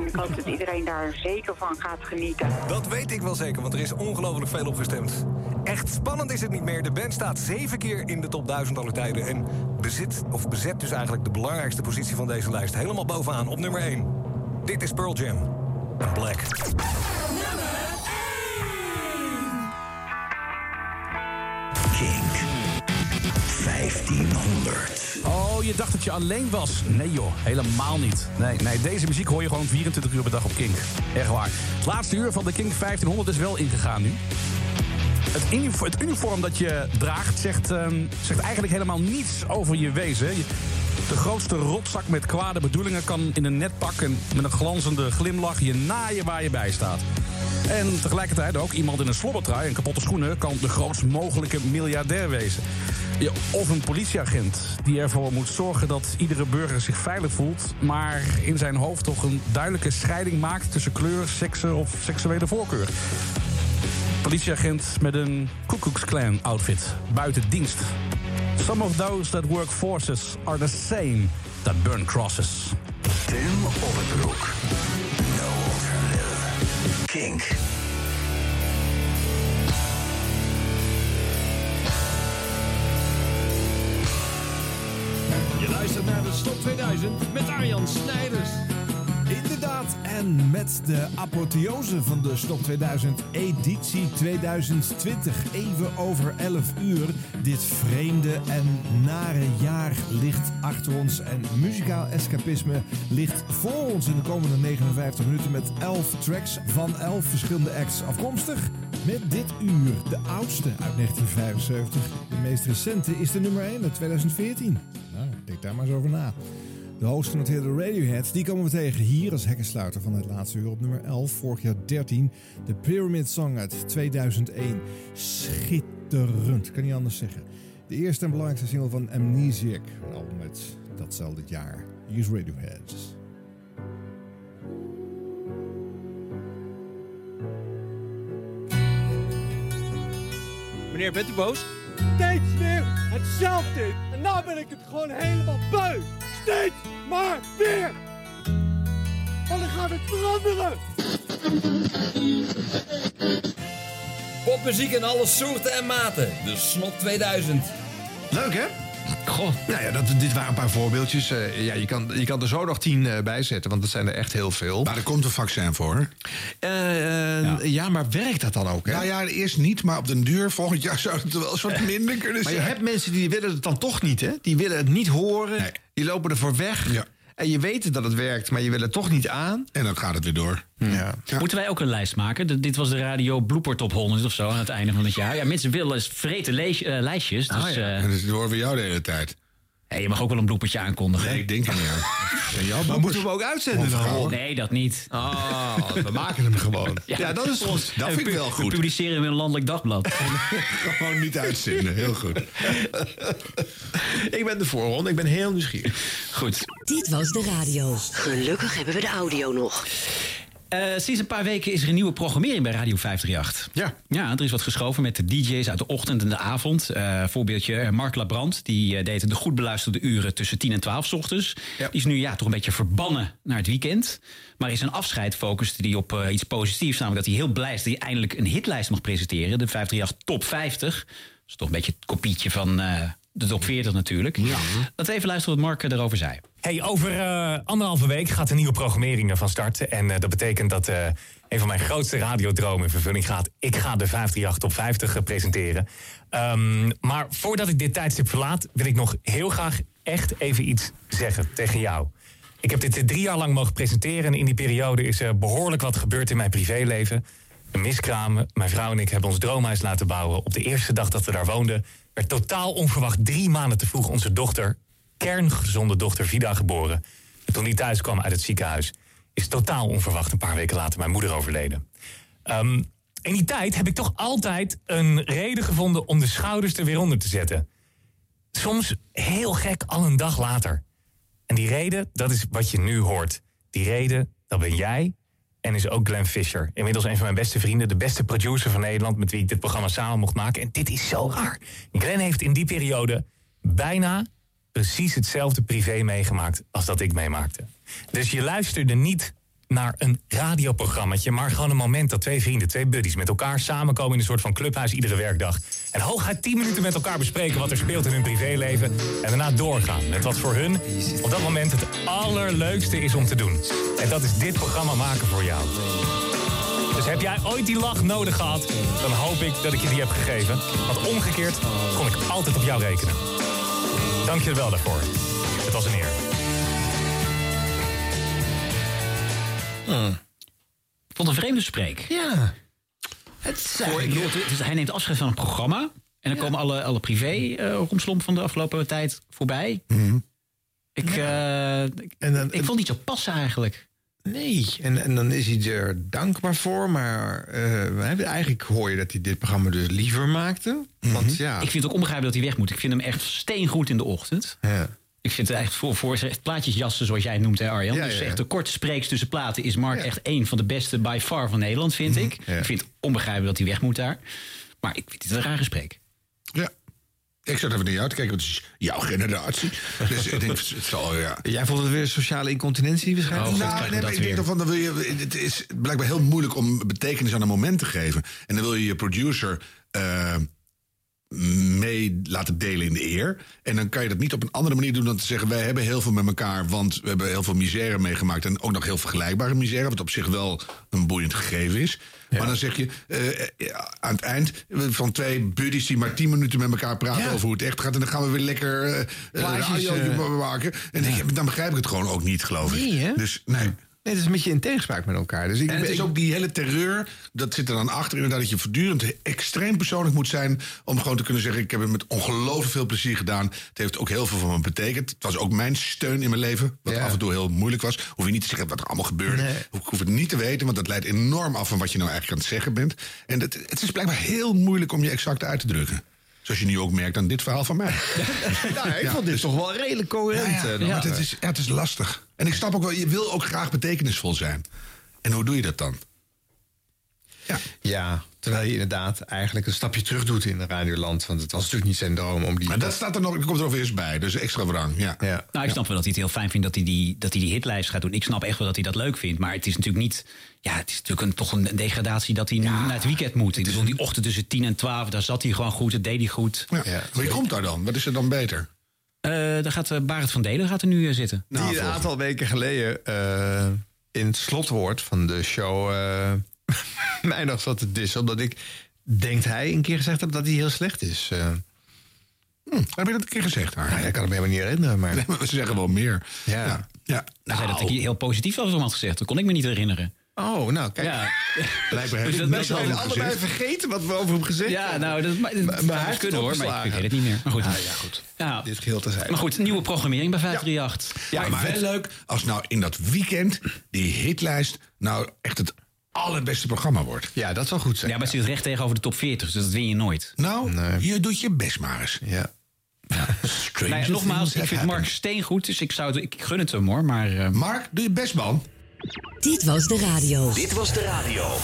Ik hoop dat iedereen daar zeker van gaat genieten.
Dat weet ik wel zeker, want er is ongelooflijk veel op gestemd. Echt spannend is het niet meer. De band staat zeven keer in de top 1000 aller tijden. En bezit, of bezet dus eigenlijk de belangrijkste positie van deze lijst. Helemaal bovenaan, op nummer 1. Dit is Pearl Jam. En Black.
Kink. 1500.
Oh, je dacht dat je alleen was. Nee joh, helemaal niet. Nee, nee, deze muziek hoor je gewoon 24 uur per dag op Kink. Echt waar. Het laatste uur van de Kink 1500 is wel ingegaan nu. Het, uni- het uniform dat je draagt zegt, ehm, zegt eigenlijk helemaal niets over je wezen. Je- de grootste rotzak met kwade bedoelingen kan in een net pak en met een glanzende glimlach je naaien waar je bij staat. En tegelijkertijd ook iemand in een slobbertrui en kapotte schoenen kan de grootst mogelijke miljardair wezen. Ja, Of een politieagent die ervoor moet zorgen dat iedere burger zich veilig voelt, maar in zijn hoofd toch een duidelijke scheiding maakt tussen kleur, seksen of seksuele voorkeur. Politieagent met een Koekoeksclan outfit. Buiten dienst. Some of those that work forces are the same that burn crosses.
Tim op het broek. No alternative. Kink.
Je luistert naar de Stop 2000 met Arjan Snijders.
Inderdaad, en met de apotheose van de Stop 2000 editie 2020, even over 11 uur. Dit vreemde en nare jaar ligt achter ons en muzikaal escapisme ligt voor ons in de komende 59 minuten met 11 tracks van 11 verschillende acts afkomstig. Met dit uur de oudste uit 1975. De meest recente is de nummer 1 uit 2014. Nou, denk daar maar eens over na. De hoogstgenoteerde Radioheads, die komen we tegen hier als hekkensluiter van het laatste uur op nummer 11, vorig jaar 13. De Pyramid Song uit 2001. Schitterend, kan niet anders zeggen. De eerste en belangrijkste single van Amnesiac, een album uit datzelfde jaar. Hier is Radioheads.
Meneer, bent u boos? Steeds weer hetzelfde. En nou ben ik het gewoon helemaal beu. Steeds maar weer. En dan gaat het veranderen.
Popmuziek in alle soorten en maten. De Snop 2000.
Leuk hè? Goh. Nou ja, dat, dit waren een paar voorbeeldjes. Eh, ja, je, kan, je kan er zo nog tien eh, bij zetten, want dat zijn er echt heel veel. Maar er komt een vaccin voor. ja. maar werkt dat dan ook? Hè?
Nou ja, eerst niet, maar op den duur volgend jaar zou het wel
[LAUGHS]
eens wat minder kunnen
maar
zijn.
je hebt mensen die willen het dan toch niet, hè? Die willen het niet horen, die lopen ervoor weg. En je weet dat het werkt, maar je wil het toch niet aan. Hm.
En dan gaat het weer door.
Ja.
Moeten wij ook een lijst maken? D- dit was de radio blooper top 100 of zo aan het einde van het jaar. Ja, mensen willen eens vreten lees- eh, lijstjes. Dus,
Ah, ja.
eh,
En dat horen we jou de hele tijd.
je mag ook wel een bloopertje aankondigen.
Nee, ik denk er niet
[LAUGHS]
aan. En jouw
Maar moeten we hem ook uitzenden dan?
Nee, dat niet.
Oh, we maken hem
[LAUGHS]
gewoon. Ja, dat is goed. Dat
En
vind ik
pu-
wel goed.
We publiceren hem in een landelijk dagblad.
[LAUGHS] Gewoon niet uitzenden, heel goed. ik ben de voorronde, ik ben heel nieuwsgierig.
Goed.
Dit was de radio. Gelukkig hebben we de audio nog.
Eh, sinds een paar weken is er een nieuwe programmering bij Radio 538. Ja. Ja, er is wat geschoven met de DJ's uit de ochtend en de avond. Eh, voorbeeldje eh, Mark Labrand, die eh, deed de goed beluisterde uren tussen 10 en 12 's ochtends. Die is nu ja, toch een beetje verbannen naar het weekend. Maar in zijn afscheid focuste hij op eh, iets positiefs. Namelijk dat hij heel blij is dat hij eindelijk een hitlijst mag presenteren. De 538 Top 50. Dat is toch een beetje het kopietje van... eh, de top 40 natuurlijk. Laten we even luisteren wat Mark eh, daarover zei.
Hey, over eh, anderhalve week gaat de nieuwe programmering ervan starten. En eh, dat betekent dat eh, een van mijn grootste radiodromen in vervulling gaat. Ik ga de 538 op 50 eh, presenteren. Ehm, maar voordat ik dit tijdstip verlaat, wil ik nog heel graag echt even iets zeggen tegen jou. Ik heb dit eh, drie jaar lang mogen presenteren. En in die periode is er behoorlijk wat gebeurd in mijn privéleven. Een miskraam. Mijn vrouw en ik hebben ons droomhuis laten bouwen. Op de eerste dag dat we daar woonden, werd totaal onverwacht drie maanden te vroeg onze dochter, kerngezonde dochter Vida, geboren. En toen die thuis kwam uit het ziekenhuis, is totaal onverwacht een paar weken later mijn moeder overleden. Ehm, in die tijd heb ik toch altijd een reden gevonden om de schouders er weer onder te zetten. Soms heel gek al een dag later. En die reden, dat is wat je nu hoort. Die reden, dat ben jij en is ook Glenn Fisher. Inmiddels een van mijn beste vrienden, de beste producer van Nederland... met wie ik dit programma samen mocht maken. En dit is zo raar. Glenn heeft in die periode bijna precies hetzelfde privé meegemaakt... als dat ik meemaakte. Dus je luisterde niet naar een radioprogrammaatje... maar gewoon een moment dat twee vrienden, twee buddies... met elkaar samenkomen in een soort van clubhuis iedere werkdag. En hooguit 10 minuten met elkaar bespreken wat er speelt in hun privéleven... en daarna doorgaan met wat voor hun op dat moment het allerleukste is om te doen. En dat is dit programma maken voor jou. Dus heb jij ooit die lach nodig gehad, dan hoop ik dat ik je die heb gegeven. Want omgekeerd kon ik altijd op jou rekenen. Dank je wel daarvoor. Het was een eer.
Ik vond een vreemde spreek.
Ja.
Het hij neemt afscheid van een programma. En dan komen alle, alle privé eh, romslomp van de afgelopen tijd voorbij.
Mhm.
Ik, eh, ik, ik vond het niet zo passen eigenlijk.
Nee, en, en dan is hij er dankbaar voor. Maar eh, eigenlijk hoor je dat hij dit programma dus liever maakte.
Hm.
Want ja,
Ik vind het ook onbegrijpelijk dat hij weg moet. Ik vind hem echt steengoed in de ochtend. Ik vind het echt voor, voor zijn echt plaatjesjassen, zoals jij het noemt, hè Arjan.
Ja,
dus
ja, ja.
echt de korte spreeks tussen platen is Mark echt een van de beste by far van Nederland, vind
Mhm.
ik. Ik vind het onbegrijpelijk dat hij weg moet daar. Maar ik vind het een raar gesprek.
Ja. Ik zat even naar jou te kijken, want het is jouw
[LAUGHS]
generatie. Dus ik denk, het zal, ja.
Jij vond het weer sociale incontinentie waarschijnlijk?
nou, nee, maar ik denk toch van, dan wil je, het is blijkbaar heel moeilijk om betekenis aan een moment te geven. En dan wil je je producer eh, mee laten delen in de eer. En dan kan je dat niet op een andere manier doen dan te zeggen... wij hebben heel veel met elkaar, want we hebben heel veel misère meegemaakt... en ook nog heel vergelijkbare misère, wat op zich wel een boeiend gegeven is. Maar dan zeg je eh, eh, aan het eind van twee buddies... die maar tien minuten met elkaar praten over hoe het echt gaat... en dan gaan we weer lekker eh, eh,
Plaatjes,
radio
eh,
maken. En dan denk je, dan begrijp ik het gewoon ook niet, geloof ik.
Nee, hè?
Dus nee.
Nee, het is een beetje in tegenspraak met elkaar. Dus ik,
En het
ik-
is ook die hele terreur, dat zit er dan achter. Inderdaad, dat je voortdurend extreem persoonlijk moet zijn. om gewoon te kunnen zeggen: Ik heb het met ongelooflijk veel plezier gedaan. Het heeft ook heel veel voor me betekend. Het was ook mijn steun in mijn leven. Wat af en toe heel moeilijk was. Hoef je niet te zeggen wat er allemaal gebeurde. Ik hoef het niet te weten, want dat leidt enorm af van wat je nou eigenlijk aan het zeggen bent. En dat, het is blijkbaar heel moeilijk om je exact uit te drukken. Zoals je nu ook merkt aan dit verhaal
[LAUGHS]
van mij.
nou, ik vond dit toch wel redelijk coherent.
Ja,
eh,
ja,
dan.
maar het is, ja, het is lastig. En ik snap ook wel, je wil ook graag betekenisvol zijn. En hoe doe je dat dan?
Ja, terwijl je inderdaad eigenlijk een stapje terug doet in Radioland. Want het was natuurlijk niet zijn droom om die...
Maar dat staat er nog, komt er over eerst bij, dus extra wrang. Ja.
Nou, ik snap wel dat hij het heel fijn vindt dat hij, die, dat hij die hitlijst gaat doen. Ik snap echt wel dat hij dat leuk vindt. Maar het is natuurlijk niet. Ja, het is natuurlijk een, toch een degradatie dat hij nu naar het weekend moet. Ik bedoel, die ochtend tussen 10 en 12, daar zat hij gewoon goed. Dat deed hij goed.
Ja. Maar wie komt daar dan? Wat is er dan beter?
Eh daar gaat eh, Barend van Delen gaat er nu eh, zitten.
Nou,
die een
[LAUGHS]
aantal weken geleden eh, in het slotwoord van de show eh [LAUGHS] mij nog zat te dissen. Omdat ik, denkt hij, een keer gezegd heb dat hij heel slecht is. Eh, Hm,
Heb je dat een keer gezegd?
nou, ja, ik kan het me helemaal niet herinneren, maar...
Nee, maar ze zeggen wel meer.
Ja. ja.
Hij zei dat ik hier heel positief over hem had gezegd. Dat kon ik me niet herinneren.
Oh, nou, kijk.
[LAUGHS]
[LAUGHS]
Ja.
Blijkbaar
[LAUGHS] Dus dat- dat-
zijn allebei vergeten wat we over hem gezegd
Ja,
hebben.
nou, dat, maar, dat zou best
heeft
kunnen
het
hoor, maar ik- ik
opgeslagen.
weet het niet meer. Maar goed.
Ah, ja, goed.
Ja.
Dit geheel te zijn.
Maar goed, nieuwe programmering bij 538.
Ja, maar wel leuk als nou in dat weekend die hitlijst nou echt het allerbeste programma wordt.
Ja, dat zou goed zijn.
Ja, maar het zit recht tegenover de top 40, dus dat win je nooit.
Nou, je doet je best maar eens.
Ja.
[LAUGHS]
Strange
Nou ja, nogmaals, ik
things
vind
have
Mark steengoed, dus ik, zou, het- ik gun het hem hoor. Maar, eh,
Mark, doe je best man.
Dit was de radio.
Dit was de radio.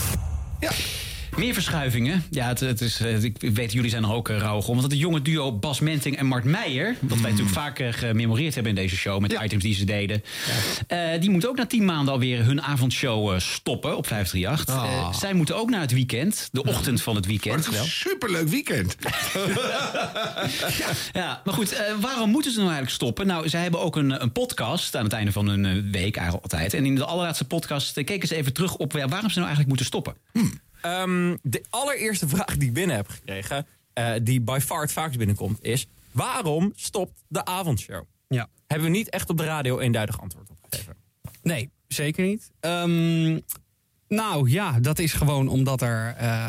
Meer verschuivingen. Ja, het, het is, eh, ik weet, jullie zijn er ook eh, rauwig om. Want het jonge duo Bas Menting en Mart Meijer... wat wij
Hmm.
natuurlijk vaak eh, gememoreerd hebben in deze show... met items die ze deden... eh, die moeten ook na tien maanden alweer hun avondshow eh, stoppen op 538.
Ah. Oh,
Eh, zij moeten ook naar het weekend. De ochtend van het weekend. wel.
Superleuk weekend.
Oh,
[LAUGHS] Ja, maar goed, eh, waarom moeten ze nou eigenlijk stoppen? Nou, zij hebben ook een, een podcast aan het einde van hun eh, week eigenlijk altijd. En in de allerlaatste podcast eh, keken ze even terug op ja, waarom ze nou eigenlijk moeten stoppen.
Ehm, de allereerste vraag die ik binnen heb gekregen, eh, die by far het vaakst binnenkomt, is: waarom stopt de avondshow?
Ja.
Hebben we niet echt op de radio eenduidig antwoord op gegeven?
Nee, zeker niet. Ehm, nou ja, dat is gewoon omdat er eh,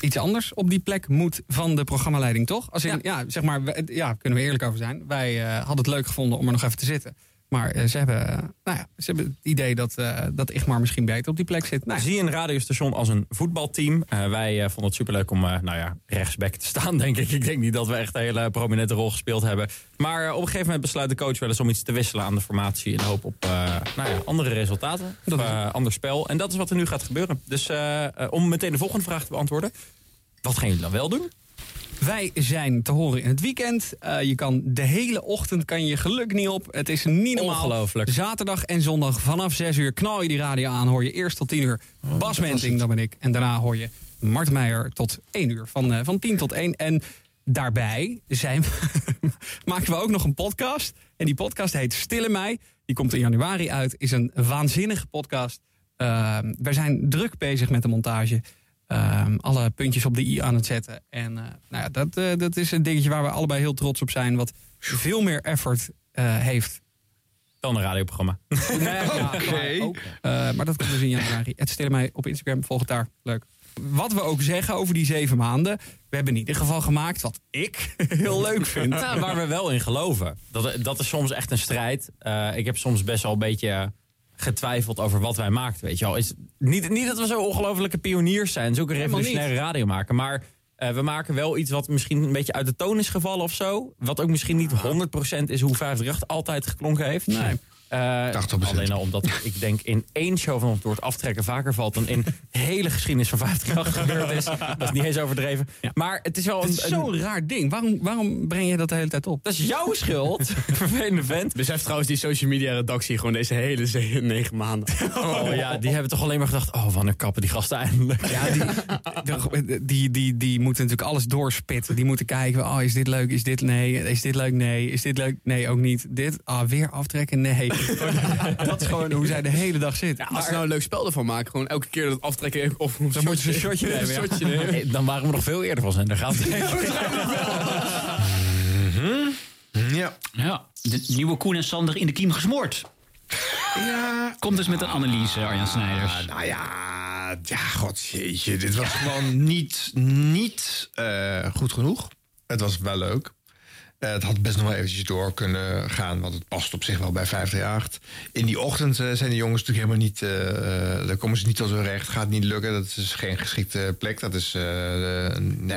iets anders op die plek moet van de programmaleiding, toch? Als in, ja. zeg maar, we- ja, kunnen we eerlijk over zijn. Wij eh, hadden het leuk gevonden om er nog even te zitten. Maar eh, ze, hebben, eh, nou ja, ze hebben het idee dat, eh dat Igmar misschien beter op die plek zit. Nou, ja.
Zie een radiostation als een voetbalteam. Eh, wij eh, vonden het superleuk om eh, nou ja, rechtsback te staan, [LAUGHS] denk ik. Ik denk niet dat we echt een hele prominente rol gespeeld hebben. Maar eh, op een gegeven moment besluit de coach wel eens om iets te wisselen aan de formatie. In de hoop op eh, nou ja, andere resultaten. Of eh, ander spel. En dat is wat er nu gaat gebeuren. Dus eh, eh, om meteen de volgende vraag te beantwoorden. Wat gaan jullie dan wel doen?
Wij zijn te horen in het weekend. Eh, je kan de hele ochtend kan je geluk niet op. Het is niet normaal.
Ongelooflijk.
Zaterdag en zondag vanaf 6 uur knal je die radio aan. Hoor je eerst tot 10 uur Bas Menting, dan ben ik. En daarna hoor je Mart Meijer tot 1 uur. Van, eh, van 10 tot 1. En daarbij zijn, maken we ook nog een podcast. En die podcast heet Stille Mij. Die komt in januari uit. Is een waanzinnige podcast. Ehm wij zijn druk bezig met de montage. Ehm, alle puntjes op de i aan het zetten. En eh, nou ja, dat, eh, dat is een dingetje waar we allebei heel trots op zijn. Wat veel meer effort eh, heeft.
Dan een
[LAUGHS]
radioprogramma. [LAUGHS]
Oké. maar dat komt dus in januari. Het stille mij op Instagram. Volg het daar. Leuk. Wat we ook zeggen over die zeven maanden. We hebben in ieder geval gemaakt wat ik [LAUGHS] heel leuk vind.
Nou, waar we wel in geloven. Dat, dat is soms echt een strijd. Eh, ik heb soms best wel een beetje getwijfeld over wat wij maakten. Weet je wel. Is, niet, niet dat we zo ongelofelijke pioniers zijn. Zulke
Helemaal niet.
revolutionaire radio maken. Maar eh, we maken wel iets wat misschien een beetje uit de toon is gevallen of zo. Wat ook misschien niet 100% is hoe 538 altijd geklonken heeft. Nee. 80%. Alleen al omdat ik denk in één show van ons door het aftrekken vaker valt dan in de hele geschiedenis van 538 gebeurd is. Dat is niet eens overdreven. Maar het is wel
Het
een,
is
een-
zo'n raar ding. Waarom, waarom breng je dat de hele tijd op?
Dat is jouw
[LAUGHS]
schuld. [LAUGHS] Vervelende vent.
Besef Dus trouwens die social media redactie gewoon deze hele ze- negen maanden.
Oh ja, die hebben toch alleen maar gedacht... oh, wanneer kappen die gasten eindelijk.
die, die, die, die moeten natuurlijk alles doorspitten. Die moeten kijken, oh, is dit leuk, is dit nee, is dit leuk, nee, is dit leuk, nee, ook niet. Dit, ah, weer aftrekken, nee. [LAUGHS] dat is gewoon hoe zij de hele dag zit.
Als ze nou een leuk spel ervan maken, gewoon elke keer dat aftrekken of een
Dan moet je een shotje
Een
nemen. ja.
shotje nemen.
Hey, Dan waren we nog veel eerder van zijn. Daar gaat het.
[LAUGHS] Mhm.
Ja. ja. De nieuwe Koen en Sander in de kiem gesmoord.
Ja.
Komt dus met een analyse, Arjan Snijders.
nou ja, ja, god jeetje. Dit was gewoon niet, niet eh, goed genoeg. Het was wel leuk. Eh, het had best nog wel eventjes door kunnen gaan, want het past op zich wel bij 538. In die ochtend eh, zijn de jongens natuurlijk helemaal niet... eh, eh, daar komen ze niet tot hun recht, gaat niet lukken. Dat is geen geschikte plek, dat is... eh nou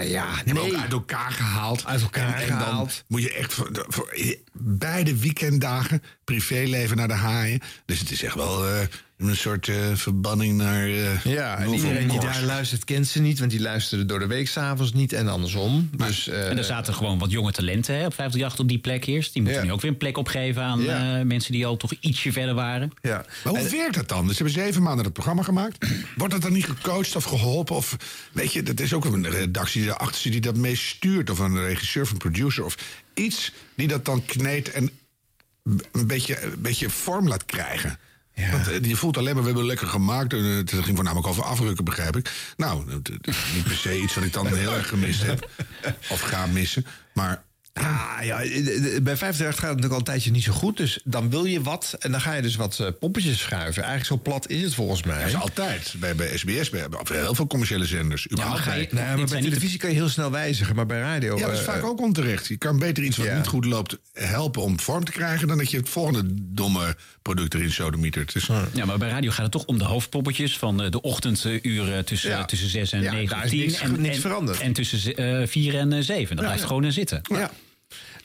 ja,
Nee, maar
nee.
ook uit elkaar gehaald.
Uit elkaar
En- en dan
gehaald.
moet je echt voor, voor eh, beide weekenddagen privéleven naar de haaien. Dus het is echt wel eh, een soort eh, verbanning naar... eh,
Ja, en
Novel
iedereen die
Corps.
daar luistert kent ze niet, want die luisteren door de week s'avonds niet en andersom. Dus, eh,
[LAUGHS] en er zaten gewoon wat jonge talenten hè, op 538 op die plek eerst. Die moeten nu ook weer een plek opgeven aan eh, mensen die al toch ietsje verder waren.
Ja.
Maar hoe werkt dat dan? Dus ze hebben zeven maanden dat programma gemaakt. [CLEARS THROAT] Wordt dat dan niet gecoacht of geholpen? Of weet je, dat is ook een redactie daarachter zit die dat meest stuurt. Of een regisseur of een producer of iets die dat dan kneedt en een beetje, een beetje vorm laat krijgen. Want eh, je voelt alleen maar, we hebben lekker gemaakt. En, eh, Het ging voornamelijk over afrukken, begrijp ik. Nou, het- het is niet per se iets wat ik dan
[LAUGHS]
heel erg gemist heb. Of ga missen. Maar
Ah, ja, eh, eh, bij 35 gaat het natuurlijk al een tijdje niet zo goed. Dus dan wil je wat en dan ga je dus wat eh, poppetjes schuiven. Eigenlijk zo plat is het volgens mij.
dat is altijd. Bij, bij SBS, bij, bij heel veel commerciële zenders. überhaupt
ga je,
bij-
nou, ja, maar bij televisie kan je heel snel wijzigen, maar bij radio...
Ja, dat is
eh,
vaak ook onterecht. Je kan beter iets wat niet goed loopt helpen om vorm te krijgen... dan dat je het volgende domme product erin sodemietert. Dus,
Ja, maar bij radio gaat het toch om de hoofdpoppetjes van eh, de ochtenduren eh, tussen, tussen 6 en
Ja,
9
daar
en
is
10.
niks-
en,
niks
en- eh,
veranderd.
En tussen 4 en 7. Dat blijft gewoon in zitten.
Ja.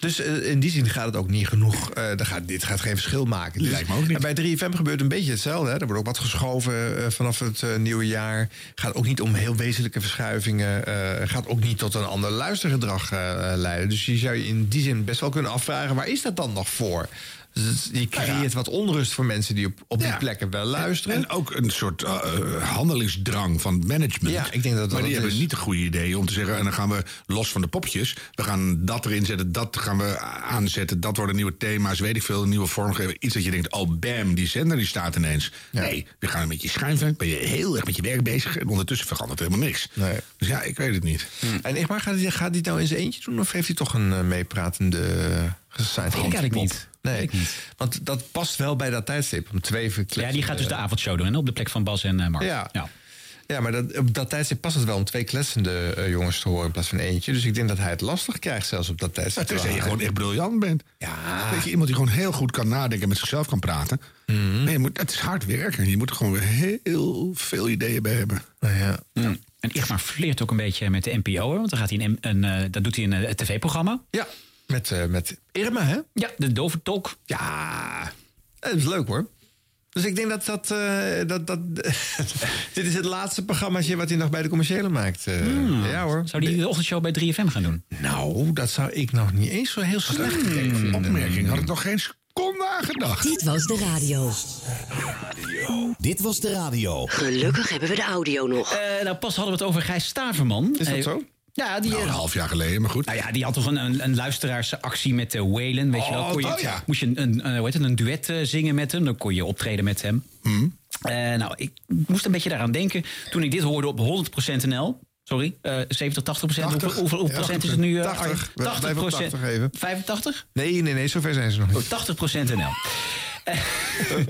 Dus eh, in die zin gaat het ook niet genoeg. Eh, daar gaat, dit gaat geen verschil maken. Dit lijkt me ook niet. En bij 3FM gebeurt een beetje hetzelfde. Hè. Er wordt ook wat geschoven eh, vanaf het eh, nieuwe jaar. Gaat ook niet om heel wezenlijke verschuivingen. Eh, gaat ook niet tot een ander luistergedrag eh, eh, leiden. Dus je zou je in die zin best wel kunnen afvragen... waar is dat dan nog voor? Dus het-
Nou
je creëert wat onrust voor mensen die op, op die plekken wel luisteren.
En ook een soort eh, eh, handelingsdrang van het management.
Ja, ik denk dat dat
maar die
het
hebben
is.
niet het goede idee om te zeggen... en dan gaan we los van de popjes... we gaan dat erin zetten, dat gaan we aanzetten... dat worden nieuwe thema's, weet ik veel, een nieuwe vormgeving. Iets dat je denkt, oh bam, die zender die staat ineens. Nee, we gaan een beetje schuiven. Ben je heel erg met je werk bezig... en ondertussen verandert helemaal niks. Dus ja, ik weet het niet.
Hmm.
En ik maar gaat hij gaat hij het nou in zijn eentje doen? Of heeft hij toch een eh, meepratende uh, gesigned
ik eigenlijk niet.
Nee, want dat past wel bij dat tijdstip. Om twee
Ja, die gaat dus de
eh,
avondshow doen hè, op de plek van Bas en eh, Mark.
Ja. ja. maar dat, op dat tijdstip past het wel om twee kletsende eh, jongens te horen in plaats van eentje. Dus ik denk dat hij het lastig krijgt zelfs op dat tijdstip.
Nou, tenzij je
Terwijl
gewoon echt briljant bent.
Ja.
Weet je, iemand die gewoon heel goed kan nadenken en met zichzelf kan praten.
Mhm.
Nee, je moet, het is hard werken. Je moet er gewoon weer heel veel ideeën bij hebben.
Nou ja.
En Igmar flirt ook een beetje met de NPO, hè, want dan gaat hij een, een, eh, dat doet hij in een eh, tv-programma.
Ja, met, eh, met Irma, hè?
Ja, de dove tolk.
Ja, Eh, dat is leuk hoor. Dus ik denk dat dat... eh, dat, dat [LAUGHS] dit is het laatste programmaatje wat hij nog bij de commerciële maakt. eh. Ja hoor.
Hmm. Zou die de ochtendshow bij 3FM gaan doen?
Nou, dat zou ik nog niet eens zo heel slecht vinden.
opmerking. Had ik nog geen seconde aan gedacht.
Dit was de radio. Dit was de radio. Gelukkig hebben we de audio nog.
Eh, nou, pas hadden we het over Gijs Staverman.
Is dat
Eh,
zo?
Ja, die,
een half jaar geleden, maar goed.
Nou ja, die had toch een, een, een luisteraarsactie met eh, Waylon. Weet je wel,
Oh,
kon je,
dat ja.
Moest je een, een, eh, hoe heet het, een duet eh, zingen met hem, dan kon je optreden met hem. Eh, nou, ik moest een beetje daaraan denken toen ik dit hoorde op 100% NL. Sorry, eh 70, 80 procent. Hoeveel, hoeveel hoeveel procent is het nu? eh,
80.
Arjen?
We blijven op 80 even.
85?
Nee, nee, nee, zover zijn ze nog niet.
Oh, 80 procent NL. Eh, [LAUGHS] nou,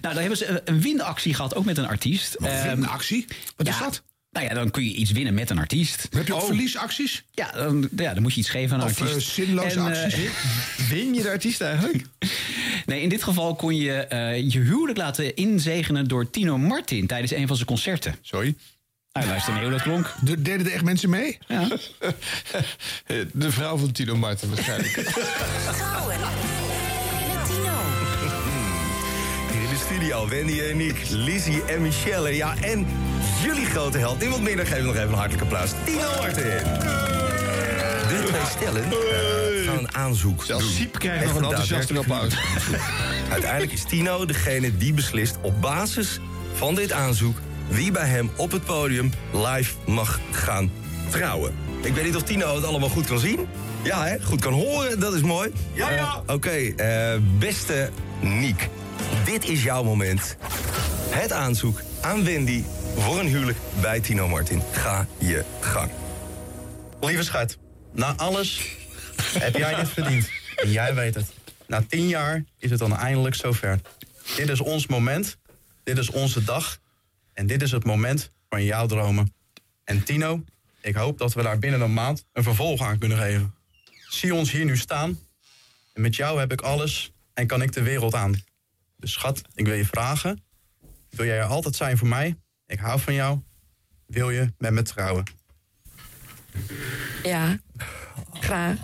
daar hebben ze een winactie gehad, ook met een artiest. Een
winactie? Wat
is dat? Nou ja, dan kun je iets winnen met een artiest. Oh.
Heb
Oh.
je ook verliesacties?
Ja dan, ja, dan moet je iets geven aan een
Of, eh,
artiest.
zinloze
eh,
acties?
Win je de artiest eigenlijk?
[LAUGHS] Nee, in dit geval kon je eh, je huwelijk laten inzegenen door Tino Martin tijdens een van zijn concerten.
Nou,
Sorry.
Hij luisterde mee hoe dat klonk.
De, deden er echt mensen mee?
Ja.
[LAUGHS] De vrouw van Tino Martin waarschijnlijk.
[LAUGHS] Trouwen. Met Tino.
Hier in de studio, Wendy en ik, Lizzie en Michelle. Ja, en jullie grote held. Niemand minder, geef hem nog even een hartelijk applaus. Tino Martin. De twee stellen eh, gaan een aanzoek Zelfs doen. Siep
krijgt nog een enthousiaste applaus.
[LAUGHS] Uiteindelijk is Tino degene die beslist op basis van dit aanzoek... wie bij hem op het podium live mag gaan trouwen. Ik weet niet of Tino het allemaal goed kan zien. Ja, hè? goed kan horen, dat is mooi. Ja, ja. Oké, eh, beste Niek. Dit is jouw moment. Het aanzoek aan Wendy voor een huwelijk bij Tino Martin. Ga je gang.
Lieve schat, na alles heb jij dit verdiend. En jij weet het. Na tien jaar is het dan eindelijk zover. Dit is ons moment. Dit is onze dag. En dit is het moment van jouw dromen. En Tino, ik hoop dat we daar binnen een maand een vervolg aan kunnen geven. Zie ons hier nu staan. En met jou heb ik alles en kan ik de wereld aan. Dus schat, ik wil je vragen. Wil jij er altijd zijn voor mij? Ik hou van jou. Wil je met me trouwen?
Ja, graag.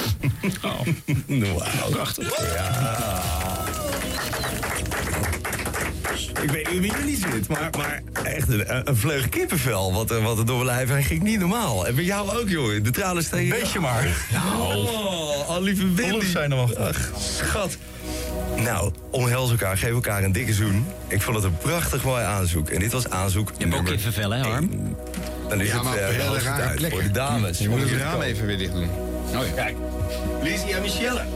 [LAUGHS]
Wauw.
Prachtig. Ja. Ik weet niet wie jullie zit, maar, maar echt een, een vleug kippenvel wat, er- wat er door mijn lijf heen ging. Niet normaal. En bij jou ook, jongen. De tranen steken. Weet je maar. Oh, al lieve Wendy. zijn er Ach, schat. Nou, omhels elkaar, geef elkaar een dikke zoen. Ik vond het een prachtig mooi aanzoek. En dit was aanzoek Je hebt ook
kippenvel, hè, Harm?
Dan is
Ja, maar
het
op
eh,
hele
hoogste
rare
tijd
plekken.
voor de dames.
Je moet het raam
komen.
even weer dicht doen.
Oh ja. Kijk. Lizzie en Michelle.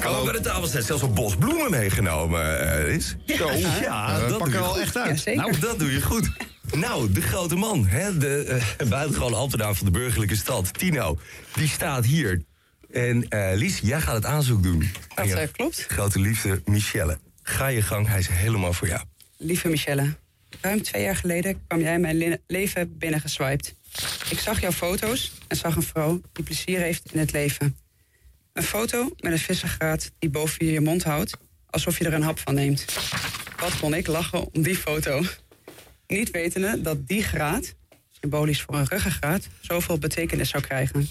Kan bij de tafel staan. Zelfs een bos bloemen meegenomen, eh, is.
Ja.
Zo.
Ja,
Ja,
dat
dat
pakken
doe
we
je
wel
goed.
echt uit. Ja, zeker.
nou, dat doe je goed. Nou, de grote man, hè, de eh, buitengewoon ambtenaar van de burgerlijke stad, Tino, die staat hier. En eh Lies, jij gaat het aanzoek doen.
Dat,
Aan je
eh, klopt.
Grote liefde, Michelle. Ga je gang, hij is helemaal voor jou.
Lieve Michelle, ruim twee jaar geleden kwam jij mijn lin- leven binnengeswiped. Ik zag jouw foto's en zag een vrouw die plezier heeft in het leven. Een foto met een vissengraat die boven je je mond houdt, alsof je er een hap van neemt. Wat kon ik lachen om die foto? Niet wetende dat die graad, symbolisch voor een ruggengraat, zoveel betekenis zou krijgen.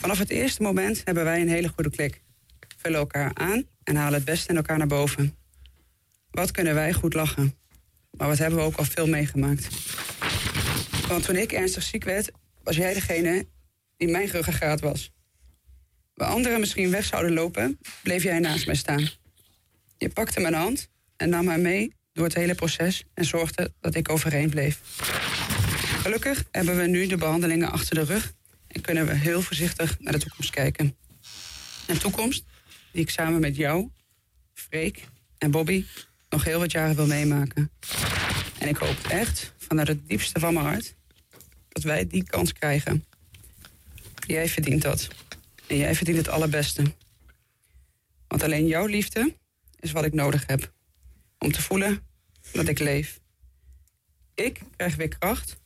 Vanaf het eerste moment hebben wij een hele goede klik. Vullen elkaar aan en halen het beste in elkaar naar boven. Wat kunnen wij goed lachen? Maar wat hebben we ook al veel meegemaakt? Want toen ik ernstig ziek werd, was jij degene die mijn ruggengraat was. Waar anderen misschien weg zouden lopen, bleef jij naast mij staan. Je pakte mijn hand en nam haar mee door het hele proces en zorgde dat ik overeind bleef. Gelukkig hebben we nu de behandelingen achter de rug en kunnen we heel voorzichtig naar de toekomst kijken. Een toekomst die ik samen met jou, Freek en Bobby nog heel wat jaren wil meemaken. En ik hoop echt, vanuit het diepste van mijn hart, dat wij die kans krijgen. Jij verdient dat. En jij verdient het allerbeste. Want alleen jouw liefde is wat ik nodig heb. Om te voelen dat ik leef. Ik krijg weer kracht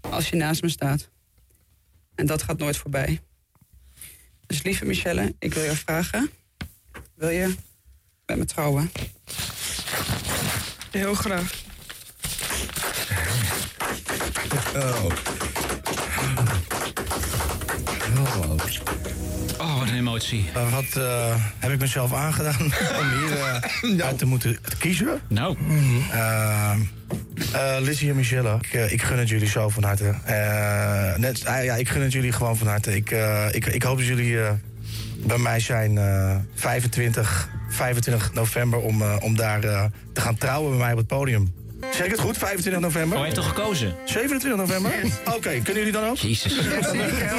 als je naast me staat. En dat gaat nooit voorbij. Dus lieve Michelle, ik wil je vragen... wil je met me trouwen? Heel graag.
Oh.
Oh,
Oh, wat een emotie.
wat eh, heb ik mezelf aangedaan [LAUGHS] om hier eh, uit te moeten kiezen? Eh,
Nou.
Lizzie en Michelle, ik, eh, ik gun het jullie zo van harte. Eh, net, ah, ja, ik gun het jullie gewoon van harte. Ik, eh, ik, ik hoop dat jullie eh, bij mij zijn eh, 25, 25 november om, eh, om daar eh, te gaan trouwen bij mij op het podium. Zeg ik het goed? 25 november?
Oh, hij heeft toch gekozen?
27 november? Oké, kunnen jullie dan ook?
Jezus.
heel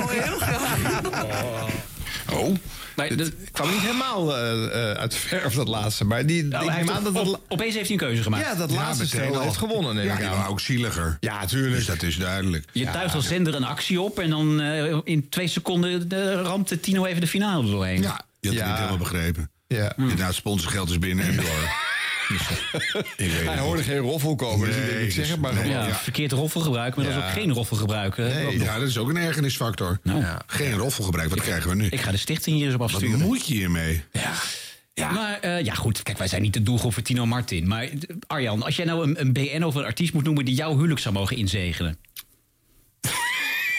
Oh. dat kwam niet helemaal eh, eh, uit de verf, dat laatste. Maar die,
Nou,
ik
hij heeft
neem aan
toch-
dat dat
op- opeens heeft hij een keuze gemaakt.
Ja, dat laatste
meteen
stel
al.
heeft gewonnen, neem
Ja,
ik
die
aan.
waren
ook zieliger. Ja, tuurlijk.
Dus
dat is duidelijk.
Je tuigt als zender een actie op en dan eh, in twee seconden de, ramt de Tino even de finale er doorheen.
Ja, je had het niet helemaal begrepen.
Ja.
Inderdaad, sponsorgeld is binnen Dus, en door. eh,
Hij hoorde geen roffel komen, dus ik denk, ik zeg het maar gewoon.
Ja,
Ja.
Verkeerd roffel gebruiken, maar dat is
Ja.
ook geen roffel gebruiken. hè?
Nee,
Dat- Nou.
ja, dat is ook een ergernisfactor. Ja. Geen roffelgebruik, wat krijgen we nu?
Ik ga de stichting hier eens op afsturen.
Wat moet je hiermee?
Maar eh, ja, goed, kijk, wij zijn niet de doelgroep voor Tino Martin. Maar eh, Arjan, als jij nou een, een BN of een artiest moet noemen die jouw huwelijk zou mogen
[LAUGHS]
inzegenen.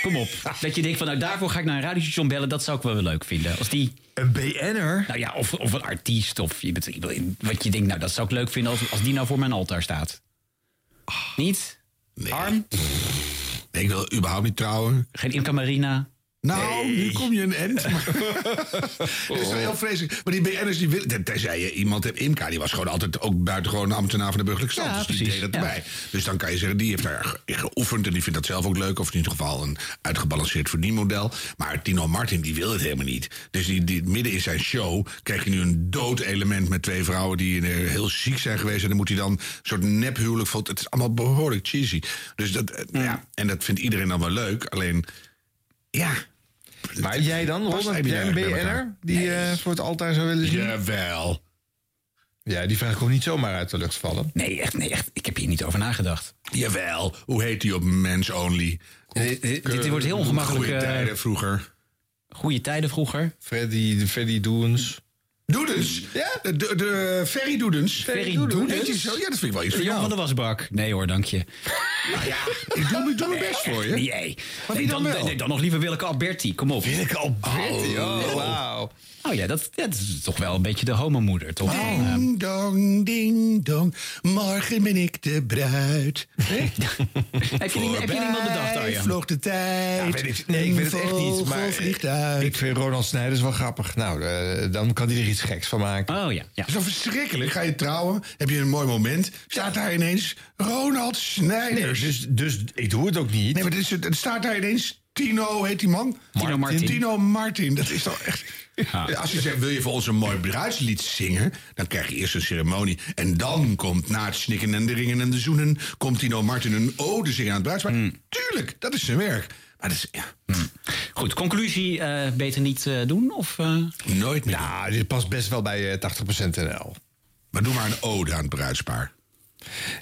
Kom op. Dat je denkt van nou daarvoor ga ik naar een radiostation bellen, dat zou ik wel weer leuk vinden. Als die.
Een BN'er?
Nou ja, of, of een artiest. Of je bent- wat je denkt, nou dat zou ik leuk vinden als, als die nou voor mijn altaar staat.
Ah.
Niet? Arm?
Ik wil überhaupt niet trouwen.
Geen Imca Marina.
Nou, nu
[LAUGHS]
kom je een end. Dat is wel heel vreselijk. Maar die BN'ers, die willen... ten- Tenzij je iemand hebt, Imka, die was gewoon altijd ook buitengewoon een ambtenaar van de burgerlijke stand.
Ja,
dus die
precies,
deed dat
ja.
erbij. Dus dan kan je zeggen, die heeft daar ge- geoefend en die vindt dat zelf ook leuk. Of in ieder geval een uitgebalanceerd verdienmodel. Maar Tino Martin, die wil het helemaal niet. Dus die, die, midden in zijn show krijg je nu een dood element met twee vrouwen die eh, heel ziek zijn geweest. En dan moet hij dan een soort nephuwelijk... vol- Het is allemaal behoorlijk cheesy. Dus dat, eh, ja. En dat vindt iedereen dan wel leuk. Alleen, ja...
Maar jij dan,
Past
Ron, heb jij een
eigenlijk niet erg bij
BN'er
elkaar.
die eh, voor het altaar zou willen zien?
Jawel.
Ja, die vraag komt niet zomaar uit de lucht vallen.
Nee, echt, nee, echt. Ik heb hier niet over nagedacht.
Jawel, hoe heet die op Mens Only?
dit wordt heel ongemakkelijk,
Goeie
eh,
tijden vroeger.
Goede tijden vroeger.
Freddy, de Freddy Doens.
Doedens? Ja? De, de, de Ferry Doedens.
Ferry Doedens?
Heet die zo? Ja, dat vind ik wel iets voor
Jan
jou.
van de Wasbak. Nee hoor, dank je.
Nou ja, ik doe, mijn- doe mijn best voor je.
Nee, hey.
Maar wie
Nee,
dan wel?
nee, dan nog liever Willeke Alberti, kom op. Willeke
Alberti, oh,
wauw.
Oh ja, dat, dat is toch wel een beetje de homomoeder, toch? Eh,
Ding dong, ding dong, morgen ben ik de bruid.
[LAUGHS]
heb
heb je iemand bedacht, Arjan?
vloog de tijd.
Ja, weet ik, nee, ik weet het echt niet. Maar eh, ik vind Ronald Snijders wel grappig. Nou, eh, dan kan hij er iets geks van maken.
Oh ja. ja.
Zo verschrikkelijk. Ga je trouwen, heb je een mooi moment. Staat daar ineens Ronald Snijders.
Nee, dus, dus ik doe het ook niet.
Nee, maar dit is, het staat daar ineens Tino, heet die man?
Tino Martin.
Tino Martin, dat is toch echt... Als je zegt, wil je voor ons een mooi bruidslied zingen... dan krijg je eerst een ceremonie. En dan komt na het snikken en de ringen en de zoenen... komt Tino Martin een ode zingen aan het bruidspaar.
Hmm.
Tuurlijk, dat is zijn werk. Maar dat is... Ja.
Goed, conclusie, eh, beter niet eh, doen? Of, eh?
Nooit meer.
Nou, dit past best wel bij eh, 80% NL.
Maar doe maar een ode aan het bruidspaar.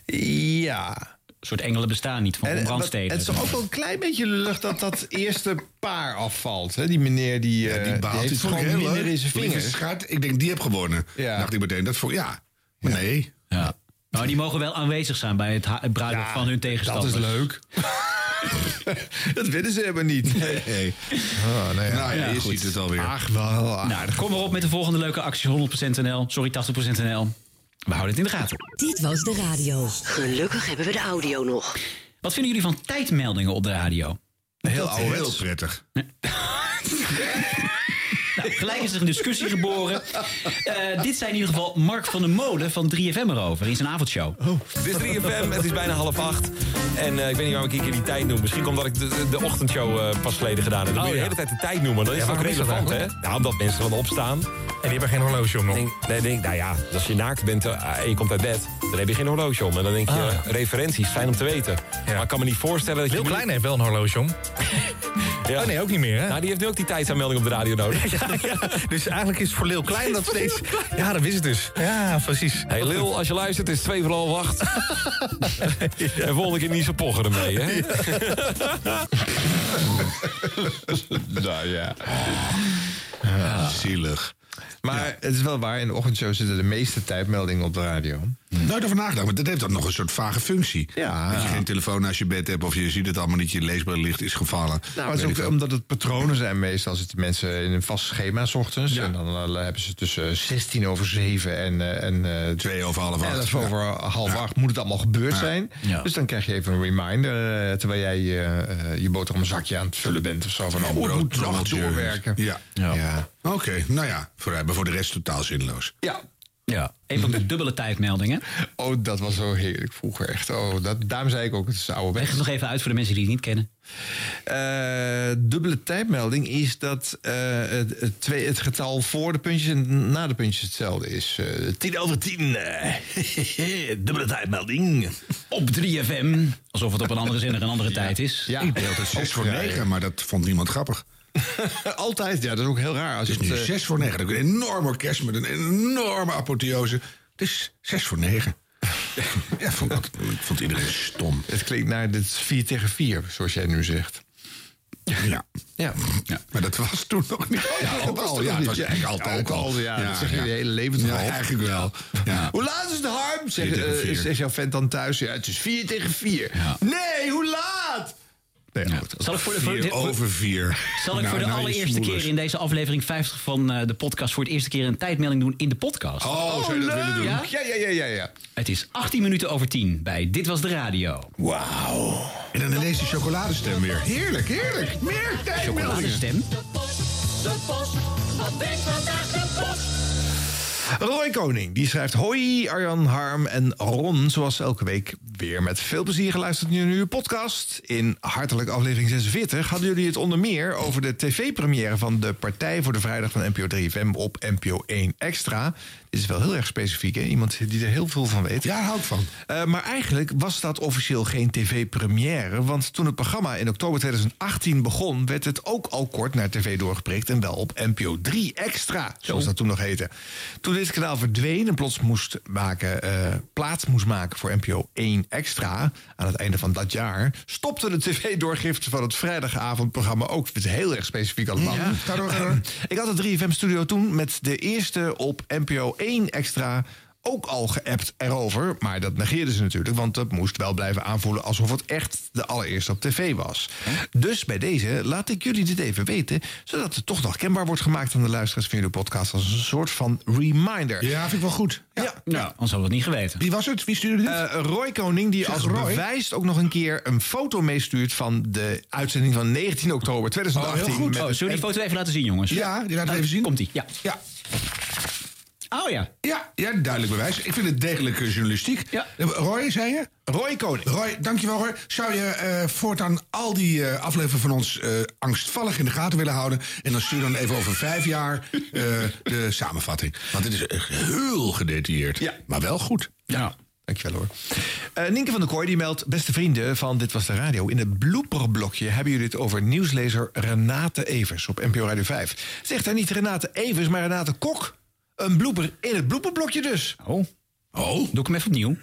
Ja.
Een soort engelen bestaan niet van
En,
Ron
wat-
Brandstede.
het is toch ook wel een klein beetje lullig dat dat eerste paar afvalt. Hè? Die meneer die, eh,
die baalt.
die
dit
heeft
vond ik
gewoon
heel
minder
leuk.
in Eh, zijn
Lieve
vingers.
schat, ik denk, die heb gewonnen.
Ja.
Dacht ik meteen, dat vond ja. Maar nee.
[LAUGHS] Ja. Nou, die mogen wel aanwezig zijn bij het ha- het bruiloft van hun tegenstanders.
dat is leuk. dat willen ze helemaal niet. Nee. Oh, nou ja,
Nou ja, je ziet het alweer.
Ach, wel
Nou, kom maar op met de volgende leuke actie 100% NL. Sorry, 80% NL. We houden het in de gaten.
Dit was de radio. Gelukkig hebben we de audio nog.
Wat vinden jullie van tijdmeldingen op de radio?
Heel ouderwets.
Heel prettig.
[LAUGHS] Nou, gelijk is er een discussie geboren. Eh, dit zijn in ieder geval Mark van der Molen van 3FM erover in zijn avondshow.
Oh.
Het is 3FM, het is bijna half acht. En eh, ik weet niet waarom ik iedere keer die tijd noem. Misschien omdat ik de, de ochtendshow eh, pas geleden gedaan heb. Dan moet je
Oh,
de
ja.
hele tijd de tijd noemen. Dan is
Ja,
het ook
waarom is dat
relevant, hè?
eigenlijk?
Nou, omdat mensen dan opstaan.
En die hebben geen horloge om nog.
Denk, nee, denk, nou ja, als je naakt bent eh, en je komt uit bed, dan heb je geen horloge om. En dan denk je,
Ah.
referenties, fijn om te weten. Maar ik kan me niet voorstellen dat je...
Heel klein heeft wel een horloge om.
Ja.
Oh nee, ook niet meer, hè?
Nou, die heeft nu ook die tijdsaanmelding op de radio nodig.
[LAUGHS] Dus eigenlijk is het voor Leeuw
[LAUGHS]
Klein dat steeds... Ja, dat is het dus. Ja, precies.
Hey Lil, als je luistert, is het twee voor half acht. En volgende keer niet zo pochen ermee, hè?
[LAUGHS]
[LAUGHS] nou ja. Ah, Zielig. Maar het is wel waar, in de ochtendshow zitten de meeste tijdmeldingen op de radio.
Hmm. Nooit over nagedacht, want dat heeft dan nog een soort vage functie.
Ja.
Dat je geen telefoon naast je bed hebt of je ziet het allemaal niet, je leesbaar licht is gevallen.
Nou, maar het
Weet
is
ik
ook
veel.
omdat het patronen zijn meestal. Zitten mensen in een vast schema s ochtends. En dan eh, hebben ze tussen 16 over 7 en... eh, en eh,
2 over half acht.
11
Ja.
over half 8 moet het allemaal gebeurd
Ja.
zijn.
Ja.
Dus dan krijg je even een reminder... eh, terwijl jij eh, eh, je boterhammenzakje aan het vullen bent of zo. Van, oh, ik moet nog doorwerken.
Ja.
Ja.
Oké, nou ja, vooruit. Maar voor de rest totaal zinloos.
Ja.
Ja.
[LAUGHS]
Een van de dubbele tijdmeldingen.
Oh, dat was zo heerlijk vroeger. Echt. Oh, dat, daarom zei ik ook, het is de oude weg.
Leg het nog even uit voor de mensen die het niet kennen.
Eh, dubbele tijdmelding is dat eh, het, het twee, het getal voor de puntjes en na de puntjes hetzelfde is. Eh, tien over tien. [LAUGHS] eh, dubbele tijdmelding.
Op 3FM. Alsof het op een andere zender een andere tijd is.
Ja.
Ik ben altijd 6 voor 9, maar dat vond niemand grappig.
[LAUGHS] Altijd, ja, dat is ook heel raar. Als eh,
het is nu 6 voor 9. Een enorm orkest met een enorme apotheose. Het is 6
[LAUGHS]
voor 9. ja, vond ik, altijd- ik vond iedereen stom.
Het klinkt naar dit is vier tegen vier, zoals jij nu zegt.
Ja.
Ja.
Maar dat was toen nog niet. Ja,
[LAUGHS] ook al,
toen
ja, het
nog niet.
was
Ja,
eigenlijk altijd
ook
al. Ja, dat zeg je
ja.
je hele leven toch
Ja,
al?
eigenlijk wel. Ja.
Hoe laat is de harm? Zeg,
Vier tegen
eh,
vier.
zegt jouw vent dan thuis. Ja, het is vier tegen vier. Nee, hoe laat? Nee, goed.
Zal ik voor de,
Vier Nou,
de-
over 4.
zal ik voor de allereerste keer in deze aflevering 50 van eh, de podcast... voor het eerste keer een tijdmelding doen in de podcast?
Oh, zou je dat willen doen?
Ja?
Ja, ja, ja, ja. ja.
Het is 18 minuten over 10 bij Dit Was De Radio.
Wauw. En dan ineens die chocoladestem weer. Heerlijk, heerlijk. Meer tijdmeldingen.
Chocoladestem.
De post, wat is vandaag de post?
Roy Koning, die schrijft... Hoi Arjan, Harm en Ron, zoals elke week weer met veel plezier geluisterd naar jullie podcast. In hartelijk aflevering 46 hadden jullie het onder meer over de tv-première... van de Partij voor de Vrijdag van NPO 3FM op NPO 1 Extra. Dit is wel heel erg specifiek, hè? Iemand die er heel veel van weet.
Ja, daar hou ik van.
Eh, maar eigenlijk was dat officieel geen tv-première. Want toen het programma in oktober 2018 begon, werd het ook al kort naar tv doorgeprikt. En wel op NPO 3 Extra, zoals dat toen nog heette. Toen dit kanaal verdween en plots moest maken, eh, plaats moest maken voor NPO 1 Extra. aan het einde van dat jaar. stopte de tv-doorgifte van het vrijdagavondprogramma ook. Het is heel erg specifiek allemaal.
Ja, ga door, ga door.
Ik had het 3FM Studio toen met de eerste op NPO 1 extra ook al geappt erover. Maar dat negeerden ze natuurlijk, want dat moest wel blijven aanvoelen... alsof het echt de allereerste op tv was. Dus bij deze laat ik jullie dit even weten... zodat het toch nog kenbaar wordt gemaakt aan de luisteraars van jullie podcast... als een soort van reminder.
Ja, vind ik wel goed. Ja.
Nou, anders hadden we het niet geweten.
Wie was het? Wie stuurde dit?
Eh, Roy Koning, die
Zeg,
als
Roy.
bewijs ook nog een keer een foto meestuurt... van de uitzending van 19 oktober 2018.
Oh,
met
zullen
een
we die foto even laten zien, jongens? Nou,
Ja, die laten we even zien.
Komt-ie, ja.
Ja.
Oh ja.
Ja, ja, duidelijk bewijs. Ik vind het degelijke journalistiek. Eh,
Ja.
Roy, zei je?
Roy Koning.
Roy, dankjewel Roy. Zou je eh, voortaan al die eh, afleveringen van ons eh, angstvallig in de gaten willen houden? En dan stuur dan even over vijf jaar eh, de samenvatting. Want het is echt heel gedetailleerd. Maar wel goed.
Ja.
Dankjewel hoor. Eh, Nienke van der Kooi die meldt... Beste vrienden van Dit Was De Radio... in het blooperblokje hebben jullie het over nieuwslezer Renate Evers... op NPO Radio 5. Zegt hij niet Renate Evers, maar Renate Kok? Een blooper in het blooperblokje dus.
Oh,
Oh,
doe ik hem even opnieuw.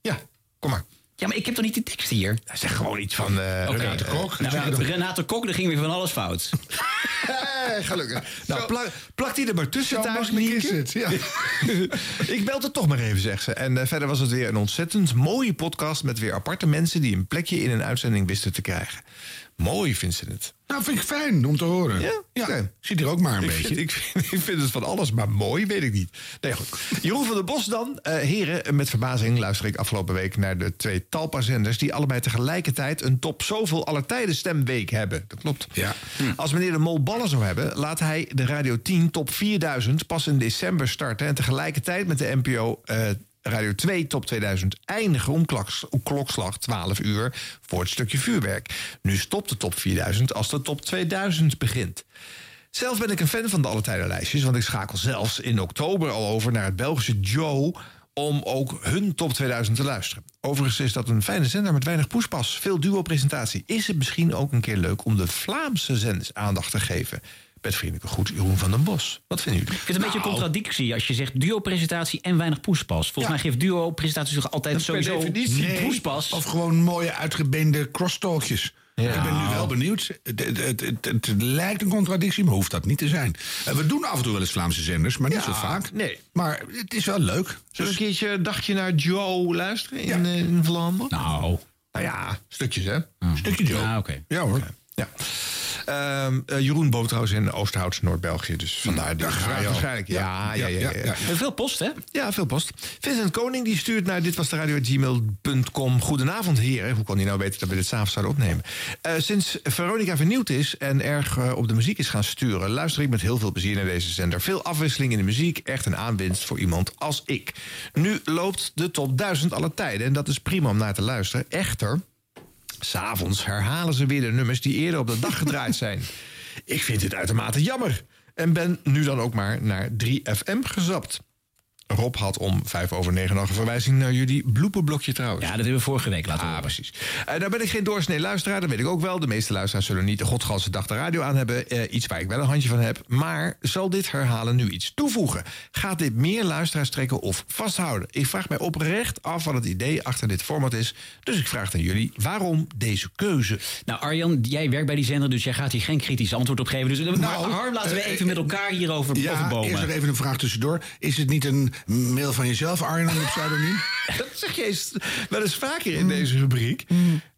Ja, kom maar.
Ja, maar ik heb toch niet de tekst hier?
Zeg gewoon iets van eh
Oké.
Renate Kok.
Nou,
Renate-
Renate Kok, daar ging weer van alles fout.
Hey, gelukkig. Nou, plak, plak die er maar tussen thuis, Nienke. [LAUGHS] Ik bel het toch maar even, zegt ze. En eh, verder was het weer een ontzettend mooie podcast... met weer aparte mensen die een plekje in een uitzending wisten te krijgen. Mooi vindt ze het.
Nou, vind ik fijn om te horen. Ja?
Oké.
Zit hier ook maar een
ik
beetje.
Vind, ik, vind, ik vind het van alles, maar mooi weet ik niet. Nee, goed. Jeroen van der Bos dan. Eh, heren, met verbazing luister ik afgelopen week naar de twee Talpa-zenders... die allebei tegelijkertijd een top zoveel aller tijden stemweek hebben. Dat klopt. Ja. Als meneer de Mol ballen zou hebben... laat hij de Radio 10 top 4000 pas in december starten... en tegelijkertijd met de NPO... eh, Radio 2 Top 2000 eindigen om klaks- om klokslag 12 uur voor het stukje vuurwerk. Nu stopt de Top 4000 als de Top 2000 begint. Zelf ben ik een fan van de alle tijden lijstjes, want ik schakel zelfs in oktober al over naar het Belgische Joe om ook hun top 2000 te luisteren. Overigens is dat een fijne zender met weinig poespas, veel duo-presentatie. Is het misschien ook een keer leuk om de Vlaamse zenders aandacht te geven? Met vriendelijke groet, Jeroen van den Bos. Wat vinden jullie?
Ik vind het een beetje een contradictie als je zegt duo-presentatie en weinig poespas. Volgens mij geeft duo-presentatie toch altijd sowieso niet poespas.
Of gewoon mooie uitgebeende crosstalkjes. Ik ben nu wel benieuwd. Het, het, het, het- het lijkt een contradictie, maar hoeft dat niet te zijn. En we doen af en toe wel eens Vlaamse zenders, maar niet zo vaak.
Nee.
Maar het is wel leuk. Zullen
we een keertje een dagje naar Joe luisteren in, eh, in Vlaanderen?
Nou.
Nou ja, stukjes hè.
Stukje Joe.
Ah, oké.
Ja hoor.
Ja. Ehm, eh, Jeroen woont trouwens in Oosterhout, Noord-België. Dus vandaar die
daar ga je
vraag
al.
waarschijnlijk. Ja, ja, ja. ja, ja.
Veel post, hè?
Ja, veel post. Vincent Koning die stuurt naar ditwasderadio.gmail.com. Goedenavond, heren. Hoe kon hij nou weten dat we dit s'avonds zouden opnemen? Eh, sinds Veronica vernieuwd is en erg eh, op de muziek is gaan sturen... luister ik met heel veel plezier naar deze zender. Veel afwisseling in de muziek. Echt een aanwinst voor iemand als ik. Nu loopt de top 1000 alle tijden. En dat is prima om naar te luisteren. Echter, S'avonds herhalen ze weer de nummers die eerder op de dag gedraaid zijn. [LAUGHS] Ik vind dit uitermate jammer. En ben nu dan ook maar naar 3FM gezapt. Rob had om vijf over negen nog een verwijzing naar jullie bloepenblokje trouwens. Ja,
dat hebben we vorige week laten
horen. precies. Eh, daar ben ik geen doorsnee luisteraar, dat weet ik ook wel. De meeste luisteraars zullen niet de godganse dag de radio aan hebben. Eh, iets waar ik wel een handje van heb. Maar zal dit herhalen nu iets toevoegen? Gaat dit meer luisteraars trekken of vasthouden? Ik vraag mij oprecht af wat het idee achter dit format is. Dus ik vraag aan jullie, waarom deze keuze?
Nou, Arjan, jij werkt bij die zender, dus jij gaat hier geen kritisch antwoord op geven. Dus
Nou,
maar, Harm, laten we
eh,
even met elkaar hierover
Ja,
overbomen.
eerst nog even een vraag tussendoor. Is het niet een mail van jezelf, Arjen, op pseudoniem?
[LAUGHS] Dat zeg je eens wel eens vaker in
Mm.
deze rubriek.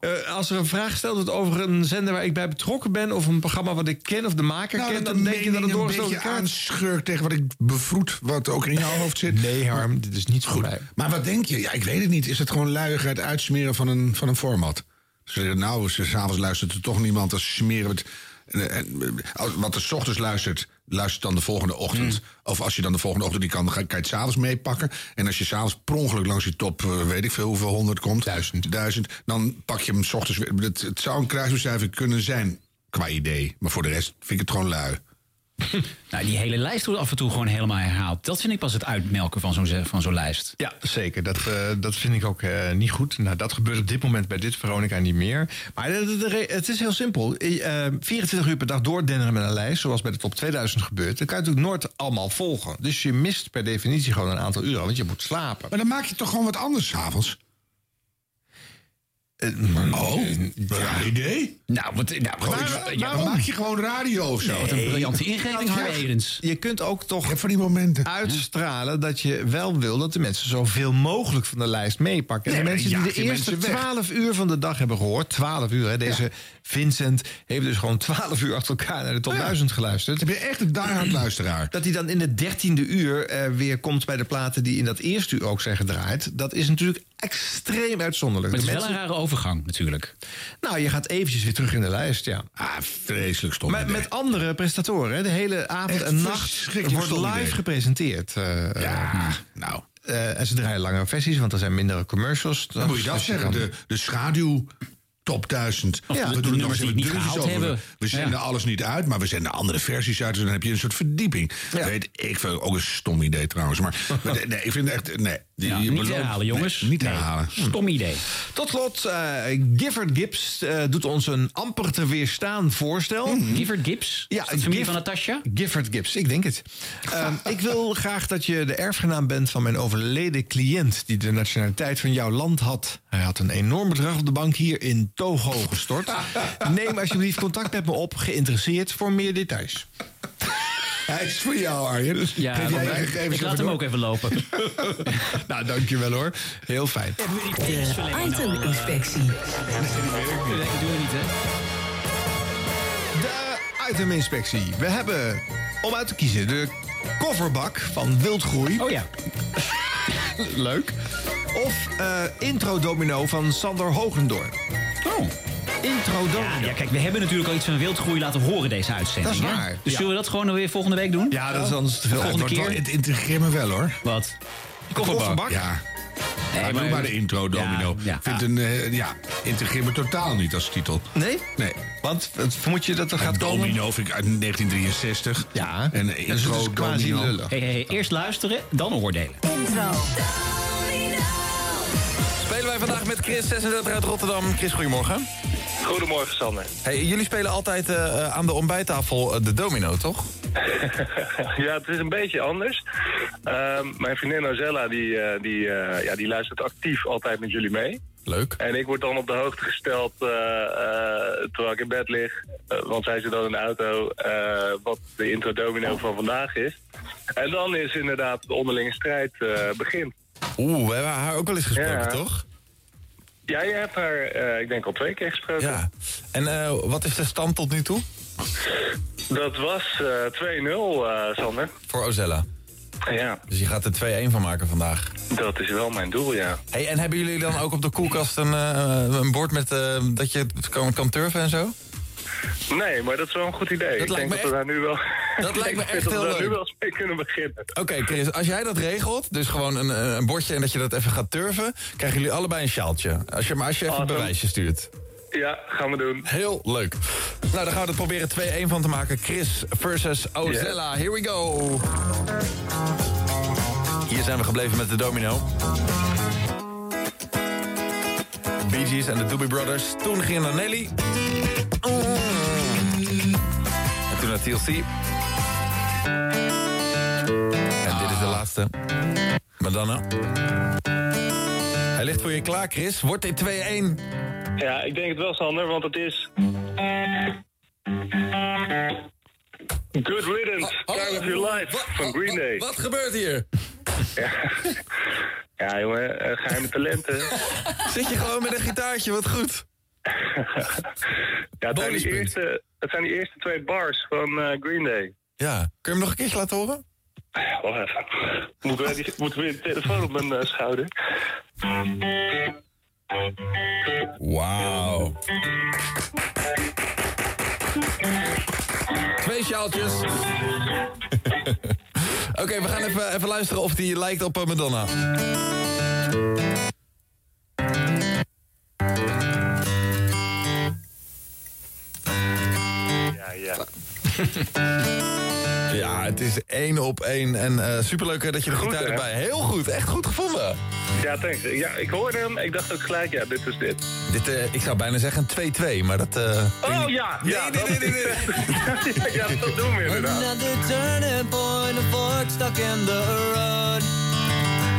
Eh, als er een vraag gesteld wordt over een zender waar ik bij betrokken ben... of een programma wat ik ken of de maker
Nou,
ken...
dat
dan denk je dat het
een
doorgestoken
beetje
kaart is.
aanschurkt tegen wat ik bevroed, wat ook
[LAUGHS]
in jouw hoofd zit.
Nee, Harm, dit is niet goed.
Maar wat denk je? Ja, ik weet het niet. Is het gewoon luiigheid uitsmeren van een, van een format? Ze zeggen, nou, ze- s'avonds luistert er toch niemand, dan smeren we het. eh, eh, als- Wat er 's ochtends luistert, luistert dan de volgende ochtend.
Hmm.
Of als je dan de volgende ochtend niet kan, dan ga- kan je het s'avonds meepakken. En als je s'avonds per ongeluk langs die top, eh, weet ik veel hoeveel, honderd komt. Duizend. Duizend, dan pak je hem 's ochtends weer. Het, het zou een kruisbestuiving kunnen zijn, qua idee. Maar voor de rest vind ik het gewoon lui.
Nou, die hele lijst wordt af en toe gewoon helemaal herhaald. Dat vind ik pas het uitmelken van zo'n, ze- van zo'n lijst.
Ja, zeker. Dat, eh, dat vind ik ook eh, niet goed. Nou, dat gebeurt op dit moment bij dit Veronica niet meer. Maar de- de- de re- het is heel simpel. Eh, eh, 24 uur per dag doordenderen met een lijst, zoals bij de top 2000 gebeurt... dat kan je natuurlijk nooit allemaal volgen. Dus je mist per definitie gewoon een aantal uren, want je moet slapen.
Maar dan maak je toch gewoon wat anders s'avonds?
oh,
raar idee.
Nou, wat, nou,
Gewoon iets- waarom maak je gewoon radio of zo?
Nee. Wat een briljante ingeving, Harm
Edens.
Je kunt ook toch
van die momenten.
uitstralen dat je wel wil dat de mensen zoveel mogelijk van de lijst meepakken. En
Nee,
de
maar
mensen
dan
die
jaag
de
je
eerste
mensen weg.
12 uur van de dag hebben gehoord, 12 uur, hè, deze Vincent heeft dus gewoon 12 uur achter elkaar naar de top 1000 geluisterd.
Heb je echt een diehard luisteraar?
Dat hij dan in de 13e uur eh, weer komt bij de platen die in dat eerste uur ook zijn gedraaid, dat is natuurlijk extreem uitzonderlijk.
Maar het
De
is wel een
mensen-
rare overgang, natuurlijk.
nou, je gaat eventjes weer terug in de lijst, ja.
Ah, vreselijk stom.
Maar met andere presentatoren, hè. de hele avond
Echt
en nacht
verschrikkelijk
wordt
stom
live
idee.
gepresenteerd. eh, eh,
nou.
eh, en ze draaien langere versies, want er zijn mindere commercials.
Dan moet je dat
Dus
zeggen.
kan-
De, de schaduw top 1000.
Of de- de
we doen het nog
nummers
eens
die
even
het niet
dunnetjes
gehaald
over.
hebben.
We zenden
Ja.
alles niet uit, maar we zenden andere versies uit. Dus
[LAUGHS]
dan heb je een soort verdieping. Weet ik veel, ook een stom idee trouwens. Maar maar nee, ik vind het echt. Nee, Die-
Ja,
je
niet
belooft-
herhalen, jongens.
Nee, niet herhalen. Hm.
Stom idee.
Tot slot, eh, Gifford Gibbs eh, doet ons een amper te weerstaan voorstel.
Hmm. Gifford Gibbs?
Ja,
Is dat de familie
Giff-
van Natasja?
Gifford Gibbs, ik denk het.
[LAUGHS]
Ehm, ik wil graag dat je de erfgenaam bent van mijn overleden cliënt... die de nationaliteit van jouw land had. Hij had een enorm bedrag op de bank hier in Togo
[LAUGHS]
gestort. Neem alsjeblieft contact met me op, geïnteresseerd, voor meer details.
Hij is voor jou, Arjen. dus
Ja,
Geef jij
maar
je
ik-
gegevens
ik laat
even
hem
door.
ook even
[LAUGHS]
lopen. [LAUGHS] nou, dankjewel hoor. Heel fijn.
De iteminspectie.
Dat doen we niet, hè?
De iteminspectie. We hebben, om uit te kiezen, de kofferbak van Wildgroei. Oh
ja.
[LAUGHS] Leuk. Of eh, intro-domino van Sander Hogendoorn.
Oh.
Intro
ja, ja, kijk, we hebben natuurlijk al iets van wildgroei laten horen deze uitzending.
Dat is
hè?
waar.
Dus
Ja.
zullen we dat gewoon weer volgende week doen?
Ja, dat is anders te veel.
Volgende
Het wordt
keer.
wel-
Het integreert me wel, hoor.
Wat?
Kofferbak?
Ja.
Nee,
ja,
maar-
doe maar de intro, Domino.
Ja, ja.
Vindt een, eh, ja, integreer me totaal niet als titel.
Nee?
Nee.
Want eh, vermoed je dat er gaat
Domino
komen?
Domino vind ik uit 1963.
Ja.
En eh,
Dus het
intro,
is quasi
Domino.
lullig.
Hey, hey, hey, eerst luisteren, dan oordelen.
Intro.
Spelen wij vandaag met Chris 36 uit Rotterdam. Chris, goedemorgen.
Goedemorgen, Sander.
Hey, jullie spelen altijd eh, eh, aan de ontbijttafel eh, de domino, toch?
[LAUGHS] ja, het is een beetje anders. Ehm, mijn vriendin Ozella, die, eh, die, eh, ja, die luistert actief altijd met jullie mee.
Leuk.
En ik word dan op de hoogte gesteld eh, eh, terwijl ik in bed lig. eh, want zij zit dan in de auto, eh, wat de intro-domino van vandaag is. En dan is inderdaad de onderlinge strijd eh, begint.
Oeh, we hebben haar ook wel eens gesproken,
Ja.
toch?
Ja, je hebt haar, eh, ik denk al twee keer gesproken.
Ja. En eh, wat is de stand tot nu toe?
Dat was eh, 2-0, eh, Sander.
Voor Ozella.
Ja,
Dus je gaat er 2-1 van maken vandaag.
dat is wel mijn doel, ja.
Hey, en hebben jullie dan ook op de koelkast een, eh, een bord met, eh, dat je het kan, kan turven en zo?
Nee, maar dat is wel een goed idee. ik denk dat we daar nu wel.
dat
[LAUGHS] Ik
lijkt me
denk
echt
dat we
heel
daar
leuk.
nu wel eens mee kunnen beginnen.
Oké, Chris, als jij dat regelt, dus gewoon een, eh, een bordje en dat je dat even gaat turven, krijgen jullie allebei een sjaaltje. Als je, maar als je even een bewijsje stuurt.
Ja, gaan we doen.
Heel leuk. Nou, dan gaan we er proberen 2-1 van te maken. Chris versus Ozella. Here we go. Hier zijn we gebleven met de domino. Bee Gees en de Doobie Brothers. Toen ging het naar Nelly. Mm. En toen naar TLC. En dit is de laatste. Madonna. Hij ligt voor je klaar, Chris. Wordt dit 2-1?
Ja, ik denk het wel, Sander, want het is. Good Riddance, Time of Your Life van Green Day.
Oh, Wat gebeurt hier?
Ja, ja jongen, eh, geheime
[LAUGHS]
talenten.
Zit je gewoon met een gitaartje, wat goed.
Ja, het, zijn die eerste, het zijn die eerste twee bars van eh, Green Day.
Ja. Kun je hem nog een keertje laten horen?
Wacht even. Moet weer, die, moet weer de telefoon op mijn eh, schouder.
Wauw. Twee sjaaltjes. Oké, we gaan even, even luisteren of die lijkt op eh, Madonna.
Ja, ja.
[LAUGHS] Ja, het is één op één. En eh, superleuk eh, dat je de
Goed,
gitaar
hè?
erbij... Heel goed, echt goed gevonden.
Ja, thanks. Ja, ik hoorde hem. Ik dacht ook gelijk, ja, dit is dit.
Dit, eh, ik zou bijna zeggen 2-2, maar dat... eh,
Oh ja! ja nee, nee, nee,
[LAUGHS]
ja, dat doen we inderdaad.
Another turning point, a fork stuck in the road.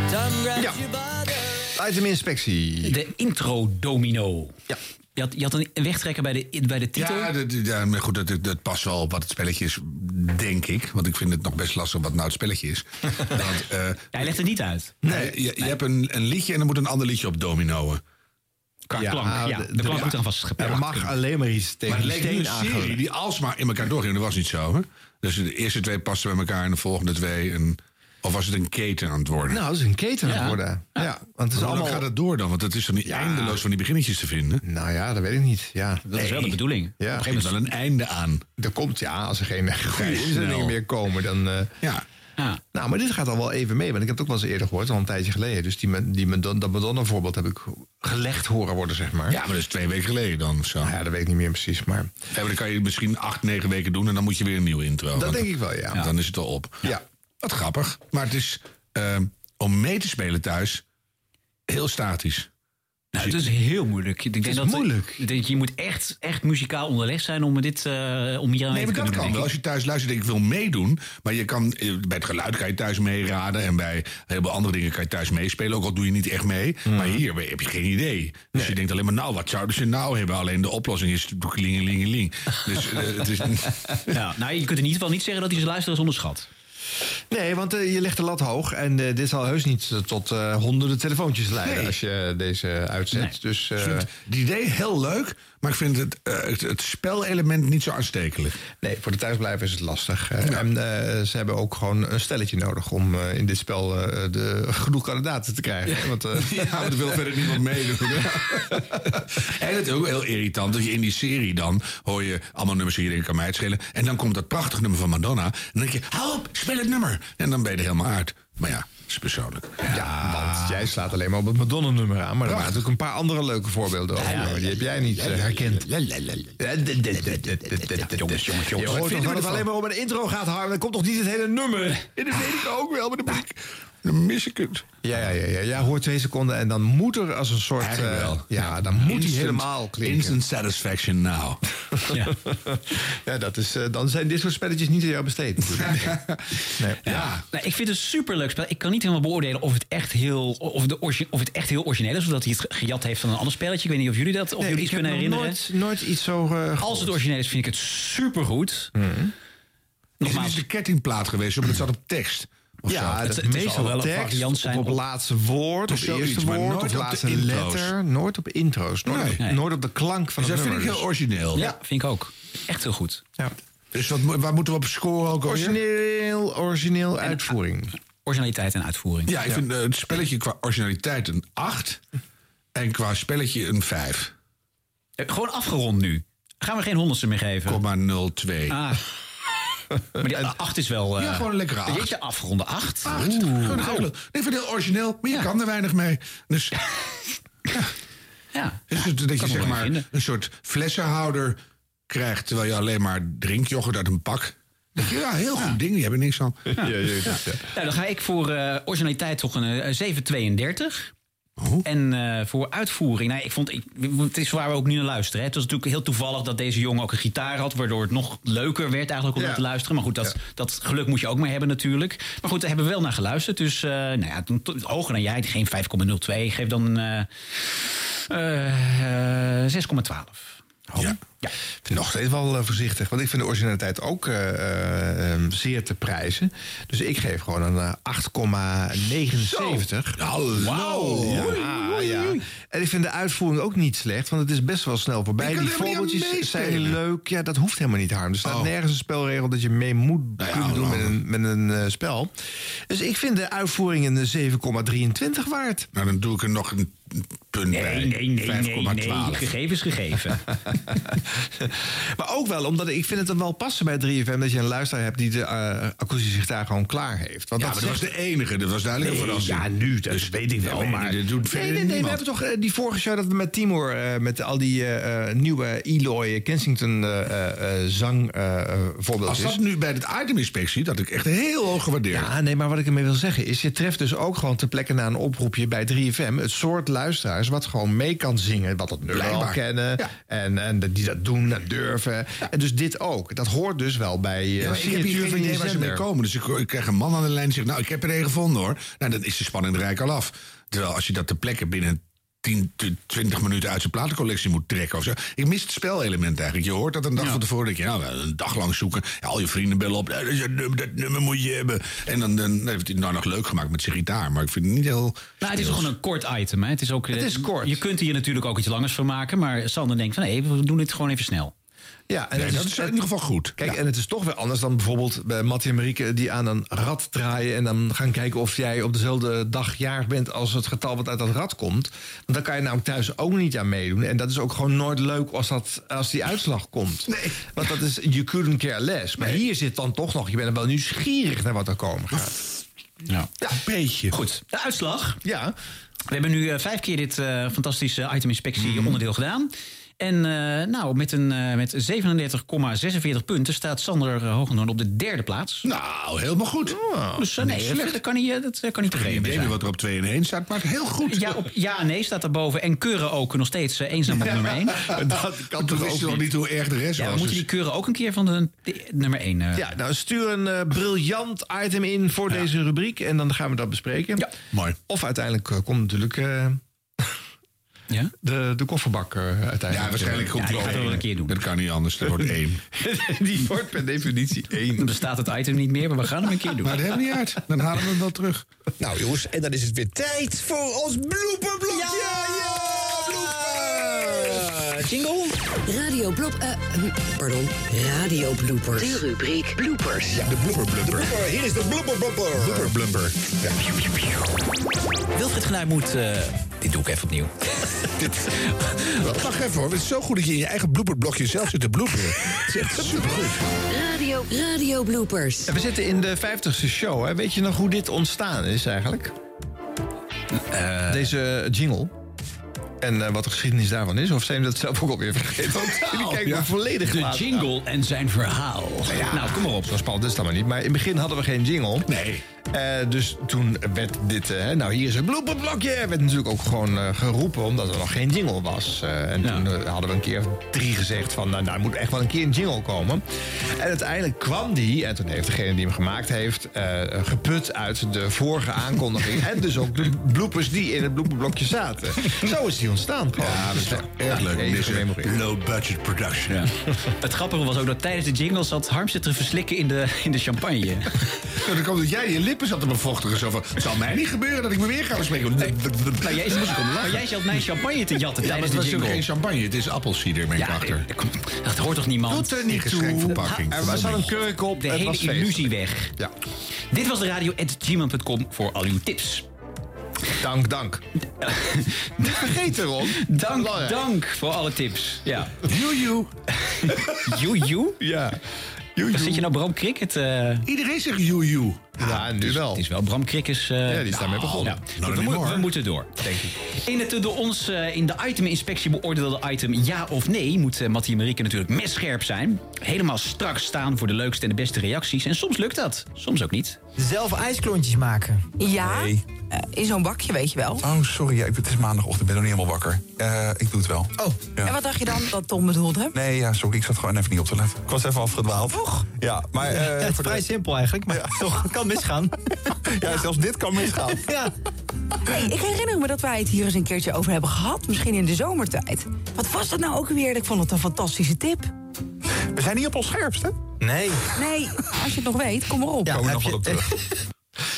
Time grabs
Ja.
you by the...
Iteminspectie.
De intro-domino. Ja. Je had, je had een wegtrekker bij de, bij de titel.
Ja, dat, ja, maar goed, dat, dat past wel op wat het spelletje is, denk ik. Want ik vind het nog best lastig wat nou het spelletje
[LAUGHS]
is. Want, eh,
Hij legt het niet uit.
nee, je, je hebt een, een liedje en er moet een ander liedje op dominoen.
Qua
nou,
klank, ja. De, klank moet dan vastgeplakt
Er mag alleen maar iets tegen
Maar het
die
leek nu een
steen
serie
aangaan.
die alsmaar in elkaar doorging. Dat was niet zo, hè? Dus de eerste twee pasten bij elkaar en de volgende twee. En, of was het een keten aan het worden?
Nou, dat is een keten aan het worden. Ja, want het
Maar
is
hoe lang
allemaal...
gaat dat door dan? Want het is toch niet eindeloos van die beginnetjes te vinden?
Nou ja, dat weet ik niet. Ja.
Dat is wel de bedoeling.
Ja.
Er geeft wel een einde aan.
Er komt, ja, als er geen goede
Vrij
inzendingen
snel.
meer komen, dan... eh,
Ja.
Nou, maar dit gaat al wel even mee. Want ik heb het ook wel eens eerder gehoord, al een tijdje geleden. Dus die, Ma- die Madonna, dat Madonna-voorbeeld heb ik gelegd horen worden, zeg maar.
Ja, maar dat is twee weken geleden dan of zo.
Nou ja, dat weet ik niet meer precies, maar...
Ja, maar dan kan je het misschien acht, negen weken doen en dan moet je weer een nieuwe intro.
Dat
Want-
denk ik wel, ja.
Want Dan is het al op.
Ja.
Wat grappig. Maar het is. ehm, om mee te spelen thuis heel statisch. Dus
Nou, het is heel moeilijk. Ik denk
is
dat, eh,
moeilijk.
ik denk, je moet echt, echt muzikaal onderleg zijn om, dit, eh om hier aan mee
Nee,
te
maar dat
kunnen
kan
doen,
wel. Als
denk
je thuis luistert en ik wil meedoen. Maar je kan, eh, bij het geluid kan je thuis meeraden. En bij heel veel andere dingen kan je thuis meespelen. Ook al doe je niet echt mee.
Mhm.
Maar hier heb je geen idee. Dus je denkt alleen maar, nou, wat zouden ze nou hebben? Alleen de oplossing is klingelingeling. Dus eh, het
[LAUGHS]
is...
ik. Ja,
[LAUGHS]
nou, je kunt in ieder geval niet zeggen dat hij zijn luisteraars onderschat.
Nee, want eh, je legt de lat hoog. En eh, dit zal heus niet eh, tot eh, honderden telefoontjes leiden
Nee.
als je eh, deze uitzet. Dus, eh,
Ik vind het idee heel leuk, maar ik vind het, eh, het, het spelelement niet zo aanstekelijk.
Nee, voor de thuisblijven is het lastig. Eh, En eh, ze hebben ook gewoon een stelletje nodig om eh, in dit spel eh, de, genoeg kandidaten te krijgen. [LAUGHS] Want, eh,
[LAUGHS] Ja, want er wil verder niemand meedoen. [LAUGHS] En het is ook heel irritant dat je in die serie dan hoor je allemaal nummers die je denkt, kan mij het schelen. En dan komt dat prachtige nummer van Madonna. En dan denk je, hou op, speel het nummer. En dan ben je er helemaal uit. Maar ja, dat is persoonlijk.
Ja, want jij slaat alleen maar op het Madonna-nummer aan. Maar er waren
Prachtig.
natuurlijk een paar andere leuke voorbeelden over. maar die heb jij niet eh, herkend. Eh, Jongens, jongens,
jongens.
Je
Wat
hoort
vinden
toch dat
we
het
ervan?
alleen maar om een intro gaat hangen. Dan komt toch niet het hele nummer? Ah,
En dat weet ik ook wel, maar dan, ben ik, dan mis ik het.
Ja, ja, ja, ja. Jij hoort twee seconden en dan moet er als een soort...
Eigenlijk
eh,
wel.
ja, dan moet hij
Instant-
helemaal klinken.
Instant
[LAUGHS]
satisfaction now.
[LAUGHS] Ja, dat is, eh, dan zijn dit soort spelletjes niet aan jou besteed.
[LAUGHS]
nee.
Ja. Nou, ik vind het een superleuk spel. Ik kan niet helemaal beoordelen of het echt heel, of de orgi- of het echt heel origineel is. Of dat hij het gejat heeft van een ander spelletje. Ik weet niet of jullie dat of
Nee,
jullie
ik
iets
heb
kunnen
nog
herinneren.
nooit, nooit iets zo... eh,
Als het origineel is, vind ik het supergoed.
Mhm. Nogmaals. Is het een kettingplaat geweest, maar het zat op tekst. Of
Ja,
zo.
het, meestal wel een variant zijn op, het laatste woord, op
Dus
het
zoiets,
eerste
maar
woord,
nooit
op
op
het
de
laatste
intro's.
letter. Nooit op intro's, nooit,
Nee.
op,
Nee.
nooit op de klank van
Dus
het
dat
nummer.
vind ik heel origineel.
Ja, vind ik ook. Echt heel goed.
Ja.
Dus wat, waar moeten we op scoren
Oh,
ook alweer?
Origineel, origineel uitvoering.
Originaliteit en uitvoering.
Ja, ik vind eh, het spelletje qua originaliteit een 8. En qua spelletje een 5.
Eh, Gewoon afgerond nu. Gaan we geen honderdste meer geven?
0,02.
Ah.
[LAUGHS]
maar die 8 is wel... eh,
Ja, gewoon een lekkere acht.
Jeetje, afronde 8.
Acht. Gewoon een hele- Ik vind het heel origineel, maar je kan er weinig mee. Dus, ja. Dus het- dat je
me
zeg
wel
maar
vinden.
een soort flessenhouder krijgt... terwijl je alleen maar drinkt yoghurt uit een pak. Dan denk je, ja, heel goed ding, je hebt er niks aan.
Ja, ja, ja.
Nou, dan ga ik voor eh, originaliteit toch een eh, 732. En eh, voor uitvoering, nou, ik vond, ik, het is waar we ook nu naar luisteren. Hè. Het was natuurlijk heel toevallig dat deze jongen ook een gitaar had, waardoor het nog leuker werd eigenlijk om
Ja.
naar te luisteren. Maar goed, dat, dat geluk moet je ook maar hebben natuurlijk. Maar goed, daar hebben we wel naar geluisterd. Dus eh nou ja, toen- toen- hoger dan jij, geen 5,02, geef dan eh, eh, eh, 6,12.
Ja.
Nog steeds wel eh, voorzichtig, want ik vind de originaliteit ook eh, eh, eh, zeer te prijzen. Dus ik geef gewoon een eh, 8,79.
Nou, Hallo!
Ja,
Oei,
ja. En ik vind de uitvoering ook niet slecht, want het is best wel snel voorbij.
Je kan
Die
helemaal niet aan
voorbeeldjes zijn
meespelen. Oh.
leuk. Ja, dat hoeft helemaal niet, Harm. Er staat nergens een spelregel dat je mee moet
Nou
kunnen doen met een, met een eh, spel. Dus ik vind de uitvoering een eh, 7,23 waard.
Nou, dan doe ik er nog een punt bij.
Nee, nee, nee, nee, nee.
5,12.
Gegevens gegeven.
[LAUGHS] Maar ook wel, omdat ik vind het dan wel passen bij 3FM... dat je een luisteraar hebt die de eh, akoestische gitaar gewoon klaar heeft. Want
Ja, maar dat was
zegt-
de enige. Dat was duidelijk een
Nee,
verrassing.
ja, nu, dat
Dus-
weet ik wel,
Ja, nee,
maar-
dit doet
Nee,
verder
nee, nee. We
niemand.
hebben toch eh, die vorige show dat we met Timor... eh, met al die eh, eh, nieuwe Eloy Kensington eh, eh, eh, zang eh, eh,
Als
voorbeeldjes.
dat nu bij de iteminspectie, dat ik echt heel hoog gewaardeerd.
Ja, nee, maar wat ik ermee wil zeggen is... je treft dus ook gewoon ter plekke na een oproepje bij 3FM... het soort luisteraars wat gewoon mee kan zingen... wat het nummer al
Blijkbaar.
kennen en, en die dat doen en durven. En dus dit ook. Dat hoort dus wel bij eh
Ja, maar ik heb
signatuur
hier
van
geen
je
idee waar ze mee
zender.
komen. Dus ik, ik krijg een man aan de lijn die zegt... nou, ik heb er één gevonden, hoor. Nou, dan is de spanning er rijk al af. Terwijl als je dat ter plekke binnen 10, 20 minuten... uit zijn platencollectie moet trekken of zo. Ik mis het spelelement eigenlijk. Je hoort dat een dag van tevoren. Dat je, nou, een dag lang zoeken. Ja, al je vrienden bellen op. Dat, is het nummer, dat nummer moet je hebben. En dan, dan heeft hij het nou nog leuk gemaakt met zijn gitaar. Maar ik vind het niet heel...
Nou, het is
speels.
gewoon een kort item. Hè? Het, is ook, eh,
Het is kort.
Je kunt hier natuurlijk ook iets langers van maken. Maar Sander denkt van nee, we doen dit gewoon even snel.
Ja, en
Nee,
het
dat is dus in ieder geval goed.
Kijk,
Ja.
en het is toch weer anders dan bijvoorbeeld bij Mattie en Marieke... die aan een rad draaien en dan gaan kijken of jij op dezelfde dag jarig bent... als het getal wat uit dat rad komt. Want dan kan je namelijk thuis ook niet aan meedoen. En dat is ook gewoon nooit leuk als, dat, als die uitslag komt. Want dat is you couldn't care less. Maar hier zit dan toch nog... je bent wel nieuwsgierig naar wat er komen gaat.
Ja.
een beetje.
Goed, de uitslag.
Ja.
Mhm.
We hebben nu eh, vijf keer dit eh, fantastische item inspectie onderdeel gedaan. En eh, nou, met, een, eh, met 37,46 punten staat Sander eh, Hogendoorn op de derde plaats.
Nou, helemaal goed.
dus eh,
niet
nee, dat-
slecht.
dat kan niet, eh, dat eh, kan niet
Ik
tevreden mee
weet niet
zijn.
wat er op 2 en 1 staat, maar heel goed.
Ja, op, ja, nee staat daarboven. En Keuren ook nog steeds eh, eenzaam op nummer 1.
[LAUGHS] Dat kan toch ook niet hoe erg de rest
Ja, we
was. dus-
moeten die Keuren ook een keer van de, de- nummer 1.
Ja, nou stuur een eh, briljant item in voor deze rubriek en dan gaan we dat bespreken.
Mooi.
Of uiteindelijk eh, komt natuurlijk
[LAUGHS]
eh, de, de kofferbak eh, uiteindelijk.
Ja, waarschijnlijk komt die ook. Dat kan niet
[LAUGHS]
anders, er wordt één.
[LAUGHS] die wordt per definitie één.
Dan bestaat het item niet meer, maar we gaan hem een keer doen.
Maar dat hebben we niet uit. Dan halen we hem wel terug.
Nou jongens, en dan is het weer tijd voor ons blooperblokje. Ja, bloopers! Jingle?
Radio Blop. eh,
hm,
Pardon, radio bloopers.
De
rubriek bloopers. Ja, de blooper blumper. Hier is de blooper blumper. Blooper blumper. Ja.
Wilfried Genuij moet... eh, dit doe ik even opnieuw.
[LAUGHS] Dit- Wacht even hoor, het is zo goed dat je in je eigen blooperblokje zelf zit te bloeperen. Het is echt supergoed.
radio, radio bloopers.
We zitten in de 50ste show. Hè. Weet je nog hoe dit ontstaan is eigenlijk?
Eh.
Deze jingle. En eh, wat de geschiedenis daarvan is. Of zijn we dat zelf ook alweer vergeten? Jullie kijken me volledig
De
laat
jingle en zijn verhaal.
Nou, kom maar op. Zo spannend is dat maar niet. Maar in het begin hadden we geen jingle.
Nee.
dus toen werd dit... eh, nou, hier is een blooperblokje. Werd natuurlijk ook gewoon eh, geroepen omdat er nog geen jingle was. Eh, en toen eh, hadden we een keer drie gezegd van... Nou, nou, er moet echt wel een keer een jingle komen. En uiteindelijk kwam die. En toen heeft degene die hem gemaakt heeft... eh, geput uit de vorige aankondiging. [LAUGHS] en dus ook de bloepers die in het blooperblokje zaten. Zo is die ontstaan. Gewoon. Ja, dat is
Erg leuk.
Even
Dit is een
memoreren.
low budget production.
Het grappige was ook dat tijdens de jingle zat Harm zich te verslikken in de, in de champagne.
Nou, dan komt dat jij je lippen zat te bevochtigen. Zo van, het zal mij niet gebeuren dat ik me weer ga bespreken.
Maar jij, maar jij zat mijn champagne te jatten
Ja, maar
tijdens
het
de
was ook
jingle.
geen champagne. Het is appelsieder, meen ik achter.
Dat hoort toch niemand?
Doet er niet
Geen
toe.
geschenkverpakking.
Er was al een kurk op,
De
het
hele
was feest.
illusie weg.
Ja.
Dit was de radio at gmail.com voor al uw tips.
Dank,
[LAUGHS]
dank.
Niet
vergeten, Ron.
Dank, dank voor alle
[LAUGHS]
tips. Ja.
Joejoe.
Joejoe?
Ja.
Zit je nou Bram Cricket? eh
Iedereen zegt joejoe.
Ja, nu
wel. Het is wel Bram Krikkers. eh,
[LAUGHS] Ja, die is daarmee
nou,
begonnen.
nou,
Not
goed, we,
anymore.
mo- we moeten door.
Denk ik.
In het eh, door ons eh, in de iteminspectie beoordeelde item ja of nee... moet eh Mattie en Marieke natuurlijk messcherp zijn. Helemaal strak staan voor de leukste en de beste reacties. En soms lukt dat, soms ook niet.
Zelf ijsklontjes maken.
Ja, eh, in zo'n bakje, weet je wel.
Oh, sorry. Ja, ik, het is maandagochtend. Ik ben nog niet helemaal wakker. Eh, ik doe het wel. Oh.
En wat dacht je dan dat Tom bedoelde?
Nee, ja, sorry. [LAUGHS] Ik zat gewoon even niet op te letten. Ik was even afgedwaald. Toch? Ja, maar... eh,
het is
voor de-
vrij simpel eigenlijk, maar
[LAUGHS]
toch, het kan misgaan.
Ja, zelfs dit kan misgaan.
ja.
Nee, ik herinner me dat wij het hier eens een keertje over hebben gehad. Misschien in de zomertijd. Wat was dat nou ook weer? Ik vond het een fantastische tip.
We zijn niet op ons scherpst, hè?
Nee.
Nee, als je het nog weet, kom erop.
Komen we nog wel op terug.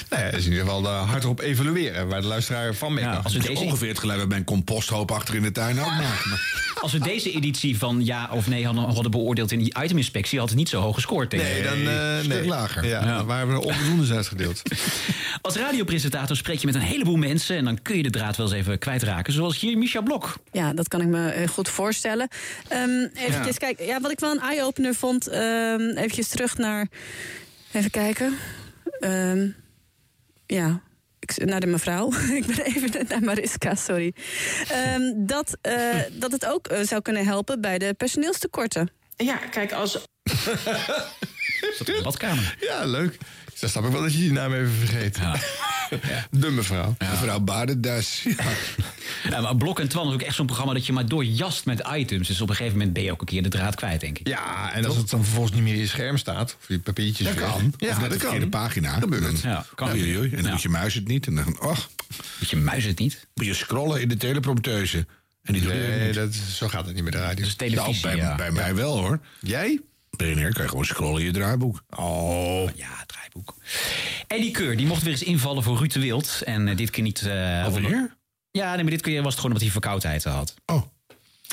Nou ja, dat is in ieder geval eh, hardop evalueren. Waar de luisteraar van mee kan.
als we deze-
Ongeveer
het geluid bij mijn composthoop achter in de tuin ook maken.
[LAUGHS] Als we deze editie van ja of nee hadden, hadden beoordeeld in die iteminspectie... had het niet zo hoog gescoord, denk ik.
Nee, dan eh,
Een stuk
nee.
lager.
Ja, [LAUGHS]
Ja.
dan waren we er onvoldoende uitgedeeld.
[LAUGHS] Als radiopresentator spreek je met een heleboel mensen... en dan kun je de draad wel eens even kwijtraken. Zoals hier Micha Blok.
Ja, dat kan ik me eh, goed voorstellen. Ehm even
Ja.
kijken. Ja, wat ik wel een eye-opener vond. ehm even terug naar. Even kijken. Ehm, ja. ik- Naar de mevrouw. [LAUGHS] Ik ben even net naar Mariska, sorry. Ehm, dat, eh,
[LAUGHS]
dat het ook eh, zou kunnen helpen bij de personeelstekorten.
Ja, kijk, als
Wat kamer.
Ja, leuk. Dus dan snap ik wel dat je die naam even vergeet. [LAUGHS] De mevrouw.
Mevrouw Badendas.
Ja, maar Blok en Twan is ook echt zo'n programma dat je maar doorjast met items. Dus op een gegeven moment ben je ook een keer de draad kwijt, denk ik.
Ja, en als het dan vervolgens niet meer in je scherm staat, of je papiertjes
Dat
weg.
kan.
Ja,
of
dat
net de verkeerde
kan.
pagina.
Gebeurt het.
Dan-
Ja, kan.
Oei, oei, oei. En dan
Ja.
moet je muis het niet. En dan,
oh.
och.
Moet je muis het niet?
Moet je scrollen in de teleprompteuze. En die
Nee, dat, zo gaat het niet met de radio.
Dus
televisie,
bij,
ja.
bij mij wel hoor.
Jij?
BNR kan je gewoon scrollen in je draaiboek. Oh.
Ja, Eddie Keur, die mocht weer eens invallen voor Ruud de Wild. En eh, dit keer niet... eh onder- Ja, nee, maar dit keer was het gewoon omdat hij verkoudheid eh, had.
Oh.
En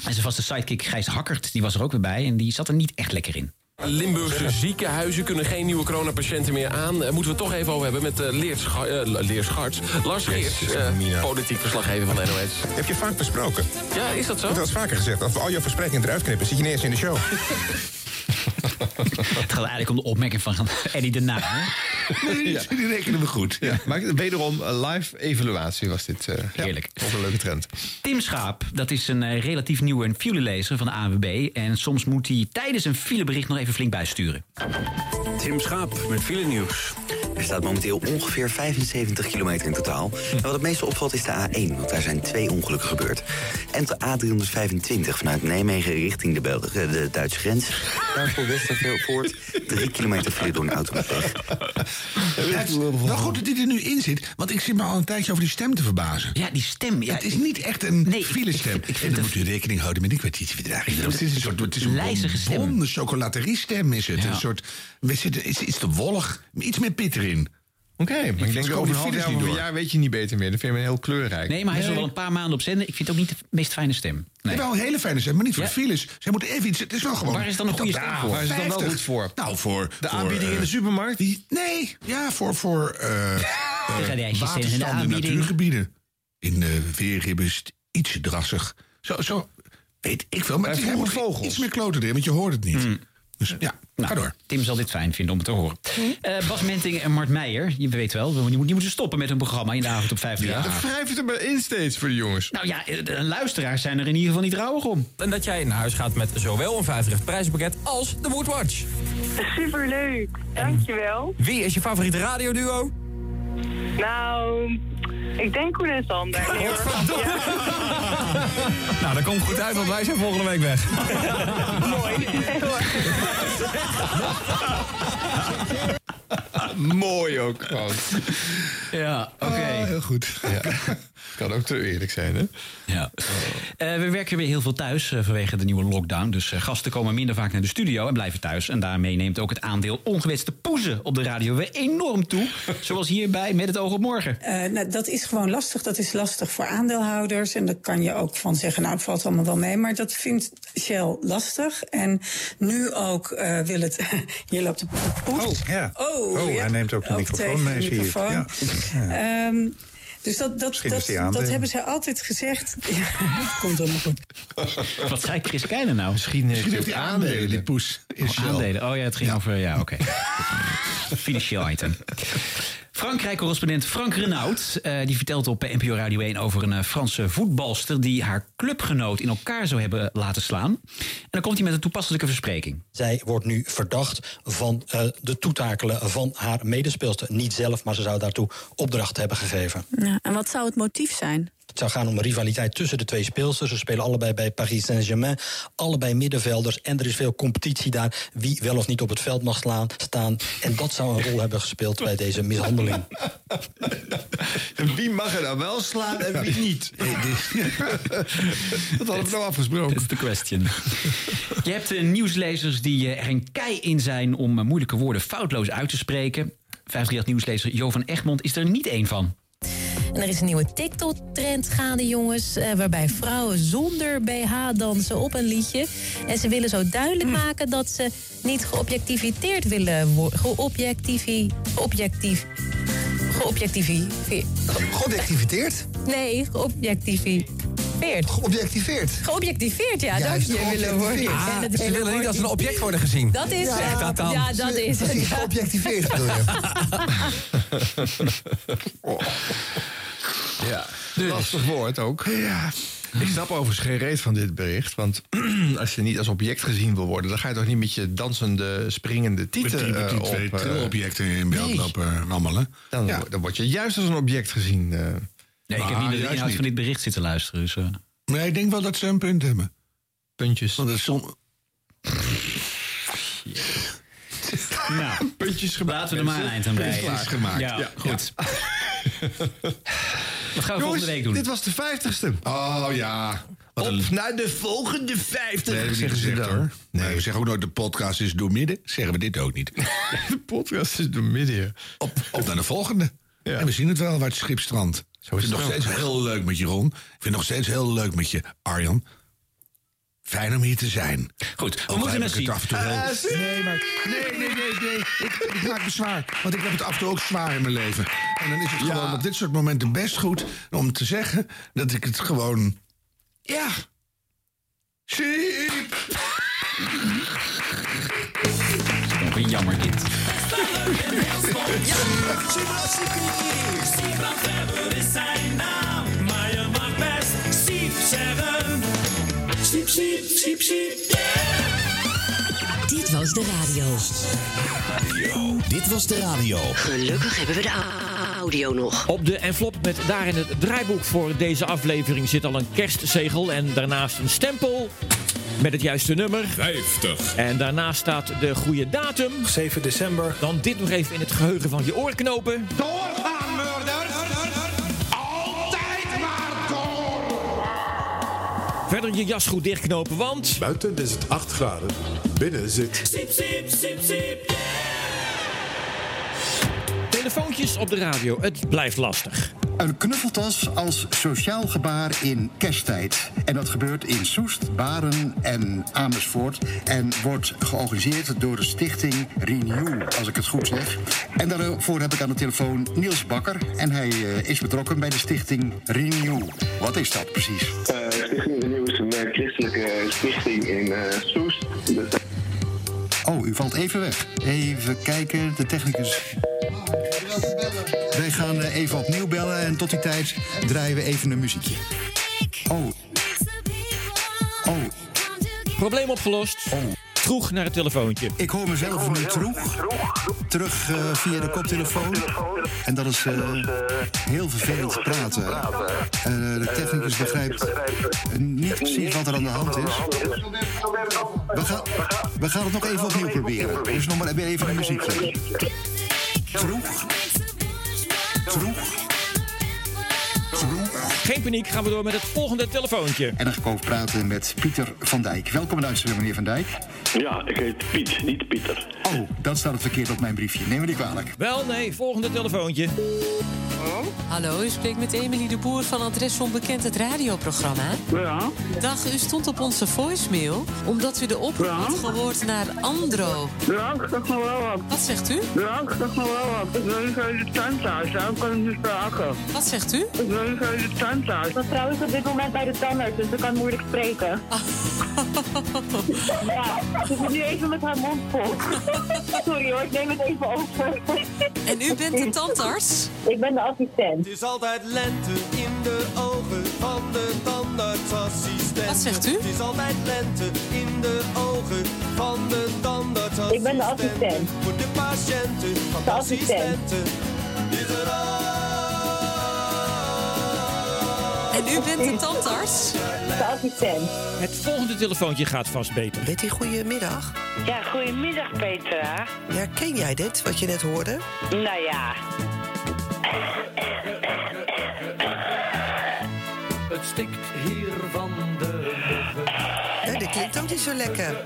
zijn vaste sidekick Gijs Hakkert, die was er ook weer bij. En die zat er niet echt lekker in. [LAUGHS]
Limburgse ziekenhuizen kunnen geen nieuwe coronapatiënten meer aan. Daar moeten we het toch even over hebben met eh Leert Scha- eh, Leert Scharts. Lars Geerts, eh, politiek verslaggever van de NOS.
Heb je vaak besproken?
Ja, is dat zo?
Dat is vaker gezegd. Als we al jouw versprekingen eruit knippen, zit je niet eens in de show.
Het gaat eigenlijk om de opmerking van [LAUGHS] Eddie de Naam. hè?
[LAUGHS] Ja.
Die rekenen we goed.
Ja. Maar wederom, eh, live evaluatie was dit. eh Heerlijk. Ja, ook een leuke trend.
Tim Schaap, dat is een eh, relatief nieuwe filelezer van de ANWB. En soms moet hij tijdens een filebericht nog even flink bijsturen.
Tim Schaap met file nieuws. Er staat momenteel ongeveer 75 kilometer in totaal. En wat het meeste opvalt is de A1, want daar zijn twee ongelukken gebeurd. En de A325 vanuit Nijmegen richting de, Bel- eh, de Duitse grens. Daar voor Westervoort 3 kilometer file door een automobiel.
Het is wel goed dat dit er nu in zit, want ik zit me al een tijdje over die stem te verbazen.
Ja, die stem. Ja,
het is niet echt een file stem. en dan moet u rekening houden met een kwartiertje Het is een soort het is een
Lijzige stem.
bonbon, chocolaterie stem is het. Een soort, we zitten, het is, het is te wollig, iets meer pit erin.
Oké, maar ik denk over een half jaar, of een jaar weet je niet beter meer. Dan vind je hem heel kleurrijk.
Nee, maar hij is al wel een paar maanden op zender. Ik vind het ook niet de meest fijne stem. Nee.
Wel een hele fijne stem, maar niet voor
Ja.
files. Zij moeten even iets, het is wel gewoon...
Waar is dan een goede stem
Ah,
voor?
Waar is het dan wel
50.
goed voor?
Nou, voor...
De
voor,
aanbieding in
eh,
de supermarkt?
Nee, ja, voor, voor eh eh,
radijsjes in de
waterstanden in
aanbieding.
natuurgebieden. In de Veerrib is het ietsje drassig. Zo, zo weet ik veel. Maar het is helemaal vogels. iets meer kloten erin, want je hoort het niet. Dus ja,
Mm. Nou,
ga door.
Tim zal dit fijn vinden om het te horen.
Hm?
Eh, Bas Menting en Mart Meijer, je weet wel, die, moeten- die moeten stoppen met hun programma in de avond op 50
Ja. Dan
jaar.
wrijf het er maar in steeds voor de jongens.
Nou ja, eh, de luisteraars zijn er in ieder geval niet rouwig om.
En dat jij naar huis gaat met zowel een vijfrecht prijzenpakket als de Woodwatch.
Superleuk, dankjewel.
Wie is je favoriete radioduo?
Nou, ik denk Koen en
[LAUGHS]
Sander. Nee, hoor.
Oh, Nou, dat komt goed uit, want wij zijn volgende week
[LAUGHS]
weg.
[LAUGHS] Mooi ook gewoon.
Ja, oké.
heel goed.
[LAUGHS]
Ja. Kan ook te eerlijk zijn, hè?
Ja. Eh, we werken weer heel veel thuis eh, vanwege de nieuwe lockdown. Dus eh, gasten komen minder vaak naar de studio en blijven thuis. En daarmee neemt ook het aandeel ongewenste poezen op de radio weer enorm toe. Zoals hierbij met het oog op morgen.
Eh, nou, dat is gewoon lastig. Dat is lastig voor aandeelhouders. En daar kan je ook van zeggen, nou, het valt allemaal wel mee. Maar dat vindt Shell lastig. En nu ook eh, wil het... [LAUGHS] Hier loopt de poes. Oh,
ja.
Oh,
Oh, hij neemt ook de microfoon
tegen de
mee, zie ik.
microfoon.
Ja.
Ehm, dus dat, dat,
Misschien is
dat,
die
dat,
aandelen.
hebben ze altijd gezegd. [LAUGHS] Ja, dat komt allemaal goed.
[LAUGHS] Wat zei Chris Keijnen nou? Misschien
Misschien heeft hij aandelen, die poes. in Shell.
aandelen. Oh ja, het ging over. Ja, oké. [LAUGHS] Financieel item. Frankrijk-correspondent Frank Renaud eh, die vertelt op eh, NPO Radio 1 over een eh, Franse voetbalster die haar clubgenoot in elkaar zou hebben laten slaan. En dan komt hij met een toepasselijke verspreking.
Zij wordt nu verdacht van eh, de toetakelen van haar medespeelster. Niet zelf, maar ze zou daartoe opdracht hebben gegeven.
Ja, en wat zou het motief zijn?
Het zou gaan om een rivaliteit tussen de twee speelsters. Ze spelen allebei bij Paris Saint-Germain. Allebei middenvelders. En er is veel competitie daar. Wie wel of niet op het veld mag slaan, staan. En dat zou een rol hebben gespeeld bij deze mishandeling.
[LAUGHS] Wie mag er dan wel slaan en wie [LAUGHS] niet?
[LAUGHS]
Dat hadden we nou afgesproken.
That's the
[LAUGHS]
question. Je hebt eh, nieuwslezers die eh, er een kei in zijn om eh, moeilijke woorden foutloos uit te spreken. 538 nieuwslezer Jo van Egmond is er niet één van.
En er is een nieuwe TikTok-trend gaande, jongens. eh, waarbij vrouwen zonder BH dansen op een liedje. En ze willen zo
Mm.
duidelijk maken dat ze niet geobjectiviteerd willen worden. Geobjectivi. Objectief. Geobjectivi.
Geobjectiviteerd?
Nee, geobjectiveerd.
Geobjectiveerd.
Geobjectiveerd, ja, dank
Juist,
je willen worden.
Ah,
geobjectiveerd.
En
Ze willen
woord
niet als een
is-
object worden gezien.
Dat is
Ja,
het.
dat dan.
Ja, Ah, dat is het.
Precies, [LAUGHS] geobjectiveerd bedoel je.
Oh. Ja,
Dus.
lastig woord ook. Ja. Ik snap overigens geen reet van dit bericht. Want [CLEARS THROAT] als je niet als object gezien wil worden... dan ga je toch niet met je dansende, springende
Met
tieten
die, met die
eh, op...
twee
eh,
trilobjecten in beeld
nee.
lopen eh, allemaal, hè?
Dan,
Ja.
dan word je juist als een object gezien. eh.
Nee, ik heb
Ah,
niet naar de
juist
inhoud
niet.
van dit bericht zitten luisteren. Dus, eh.
Maar ik denk wel dat ze een punt hebben.
Puntjes.
Want dat is som...
Nou,
puntjes gemaakt.
Laten we er maar een eind aan breien.
Puntjes gemaakt.
Ja,
Ja.
goed. Wat gaan
Jongens,
we volgende week doen?
dit was de vijftigste.
Oh ja. Wat
Op
een-
naar de volgende vijftig,
Nee, hebben we niet
zeggen ze
gezegd,
dan.
hoor. Nee, we zeggen ook nooit de podcast is door midden. Zeggen we dit ook niet.
[LAUGHS] de podcast is door midden. ja.
Op, op naar de volgende. En we zien het wel waar het schip strandt. ik vind het nog
het
steeds
ook.
heel leuk met je, Ron. Ik vind het nog steeds heel leuk met je, Arjan. Fijn om hier te zijn.
Goed,
we moeten het zien. Af en toe heel...
Ah, zie-
nee, maar... Nee, nee, nee, nee. Ik, ik maak me zwaar. Want ik heb het af en toe ook zwaar in mijn leven. En dan is het gewoon op dit soort momenten best goed... om te zeggen dat ik het gewoon... Ja. Sheep.
Wat jammer dit.
Siep, siep, siep, siep.
Dit was de radio.
Oh, Dit was de radio.
Gelukkig hebben we de au- audio nog.
Op de envelop met daarin het draaiboek voor deze aflevering zit al een kerstzegel en daarnaast een stempel met het juiste nummer. 50. En daarnaast staat de goede datum. 7 december. Dan dit nog even in het geheugen van je oorknopen.
Doorgaan, murder. Altijd maar door.
Verder je jas goed dichtknopen, want... Buiten is het 8 graden, binnen zit...
Siep, siep, siep, siep.
Telefoontjes op de radio, het blijft lastig.
[LAUGHS] Een knuffeltas als sociaal gebaar in kersttijd. En dat gebeurt in Soest, Baren en Amersfoort. En wordt georganiseerd door de stichting Renew, als ik het goed zeg. En daarvoor heb ik aan de telefoon Niels Bakker. En hij eh, is betrokken bij de stichting Renew. Wat is dat precies?
Eh, Stichting de Nieuw is een eh, christelijke stichting in eh, Soest. Dat-
Oh, u valt even weg. Even kijken, de technicus. Wij gaan eh, even opnieuw bellen en tot die tijd draaien we even een muziekje. Oh. Oh.
Probleem opgelost. Troeg naar het telefoontje.
Ik hoor mezelf nu troeg. Terug eh, via de koptelefoon. En dat is eh, heel vervelend praten. Eh, de technicus begrijpt niet precies wat er aan de hand is. We gaan, we gaan het nog even opnieuw proberen. Dus nog maar even een muziekje. Troeg. Troeg.
Geen paniek, gaan we door met het volgende telefoontje.
En dan ga ik over praten met Pieter van Dijk. Welkom in de uitzending, meneer Van Dijk.
Ja, ik heet Piet, niet Pieter.
Oh, dat staat het verkeerd op mijn briefje. Neem me niet kwalijk.
Wel, nee, volgende telefoontje.
Hallo, u spreekt met Emily de Boer van Adres Onbekend, het radioprogramma. Ja. Dag, u stond op onze voicemail omdat u de oproep had gehoord naar Andro.
Ja, ik zeg nog wel wat.
Wat zegt u?
Ja, ik zeg nog wel wat. Ik wil niet uit de tent thuis, daarom kan ik niet vragen.
Wat zegt u?
Ik wil niet uit de tent thuis.
Mevrouw is op dit moment bij de tandarts, dus ze kan moeilijk
[LAUGHS]
spreken. ja, ze zit nu even met haar mond vol. [LAUGHS] Sorry hoor, ik neem het even over.
En u bent de tandarts?
Ik ben de assistent.
Het is altijd lente in de ogen van de tandartsassistent. Wat zegt u? Het is altijd lente in de ogen van de tandartsassistent.
Ik ben de assistent.
Voor de patiënten van de,
De assistent.
assistenten is er
En u bent de tandarts?
De assistent.
Het volgende telefoontje gaat vast beter.
Betty, goedemiddag.
Ja, goedemiddag Petra.
Herken jij dit, wat je net hoorde?
Nou ja,
Het stikt hier van de...
Nee, dit klinkt ook niet zo lekker.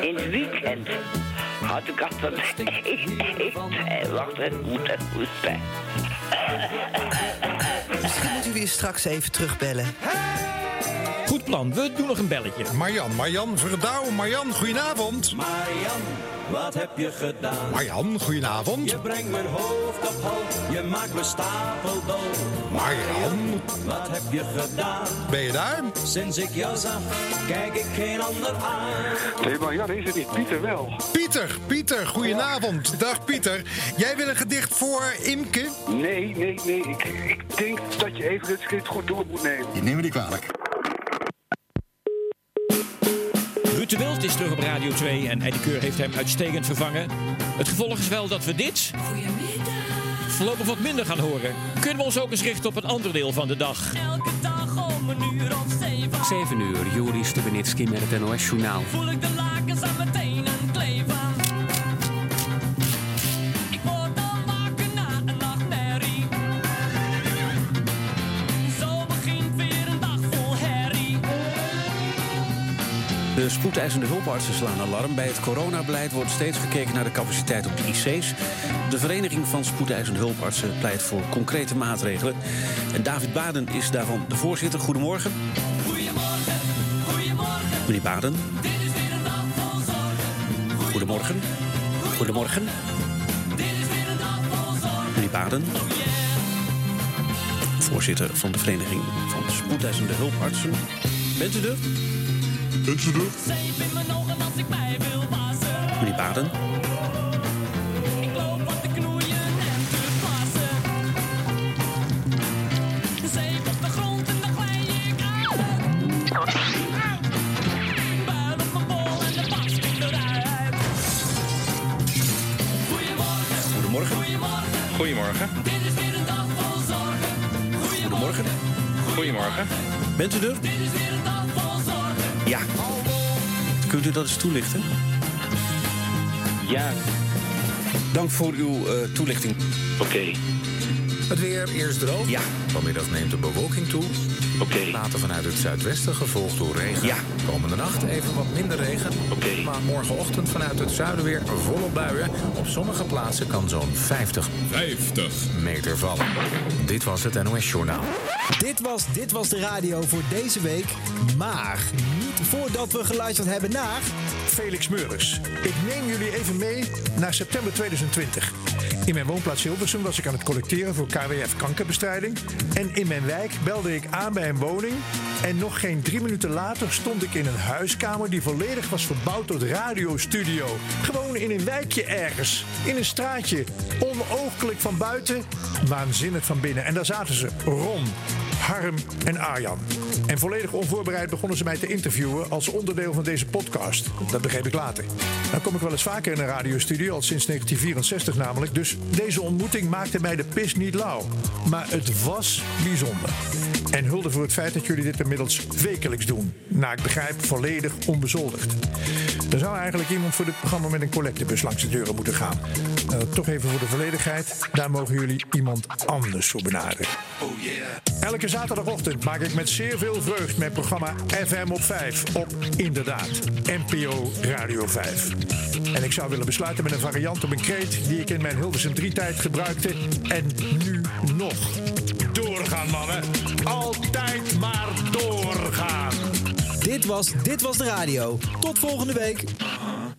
in het weekend had ik altijd... Eh, Wacht, ik moet het hoesten.
Misschien moet u weer straks even terugbellen.
Goed plan, we doen nog een belletje.
Marjan, Marjan Verdouw. Marjan, goedenavond.
Marian, wat heb je gedaan?
Marjan, goedenavond.
Je brengt mijn hoofd op hol, je maakt me stapeldol.
Marian,
wat heb je gedaan?
Ben je daar?
Sinds ik jou zag, kijk ik geen ander aan.
Nee, maar ja, deze niet. Pieter wel.
Pieter, Pieter, goedenavond. Dag Pieter. Jij wil een gedicht voor Imke?
Nee, nee, nee. Ik, ik denk dat je even het schrift goed door moet nemen.
Je neemt me niet kwalijk.
Ruud de Wild is terug op Radio 2 en Eddie Keur heeft hem uitstekend vervangen. Het gevolg is wel dat we dit... voorlopig wat minder gaan horen. Kunnen we ons ook eens richten op een ander deel van de dag.
Elke dag om een uur of zeven
7 uur, Juri Stubenitski met het NOS-journaal.
voel ik de lakens aan mijn tenen kleven. Ik word al wakker nou, na een nachtmerrie. Zo begint weer een dag vol herrie.
De spoedeisende hulpartsen slaan alarm. Bij het coronabeleid wordt steeds gekeken naar de capaciteit op de IC's. De Vereniging van Spoedeisende Hulpartsen pleit voor concrete maatregelen. En David Baden is daarvan de voorzitter. Goedemorgen.
Goedemorgen, goedemorgen,
Meneer Baden,
dit is weer een dag vol zorgen.
goedemorgen. Goedemorgen.
Dit is weer een dag vol zorgen.
Meneer Baden. Voorzitter van de Vereniging van Spoedeisende Hulpartsen. Bent u er? Bent u er?
Zeep in mijn ogen als ik mij wil wassen.
Meneer Baden.
Goedemorgen.
Goedemorgen.
Goedemorgen.
Bent u er? Ja. Kunt u dat eens toelichten? Ja. Dank voor uw eh, toelichting. Oké.
Het weer eerst droog. Ja. Vanmiddag neemt de bewolking toe. Oké. Later vanuit het zuidwesten gevolgd door regen. Ja. Komende nacht even wat minder regen. Oké. Maar morgenochtend vanuit het zuiden weer volop buien. Op sommige plaatsen kan zo'n 50, 50 meter vallen. Dit was het NOS Journaal.
Dit was, dit was de radio voor deze week. Maar niet voordat we geluisterd hebben naar...
Felix
Dus,
Meurus. Ik neem jullie even mee naar september 2020. In mijn woonplaats Hilversum was ik aan het collecteren voor KWF kankerbestrijding. En in mijn wijk belde ik aan bij een woning. En nog geen drie minuten later stond ik in een huiskamer die volledig was verbouwd tot radiostudio. Gewoon in een wijkje ergens, in een straatje. Onoogkelijk van buiten, waanzinnig van binnen. En daar zaten ze, Ron, Harm en Arjan. En volledig onvoorbereid begonnen ze mij te interviewen als onderdeel van deze podcast. Dat begreep ik later. Nou kom ik wel eens vaker in een radiostudio, al sinds 1964 namelijk. Dus deze ontmoeting maakte mij de pis niet lauw. Maar het was bijzonder. En hulde voor het feit dat jullie dit inmiddels wekelijks doen. Nou, ik begrijp, volledig onbezoldigd. Er zou eigenlijk iemand voor dit programma met een collectebus langs de deuren moeten gaan. Eh, toch even voor de volledigheid, daar mogen jullie iemand anders voor benaderen.
Oh yeah.
Elke zaterdagochtend maak ik met zeer veel vreugd mijn programma FM op 5 op inderdaad NPO Radio 5. En ik zou willen besluiten met een variant op een kreet die ik in mijn Hilversum 3-tijd gebruikte en nu nog. Doorgaan mannen, altijd maar doorgaan.
Dit was, dit was de radio. Tot volgende week.
Uh-huh.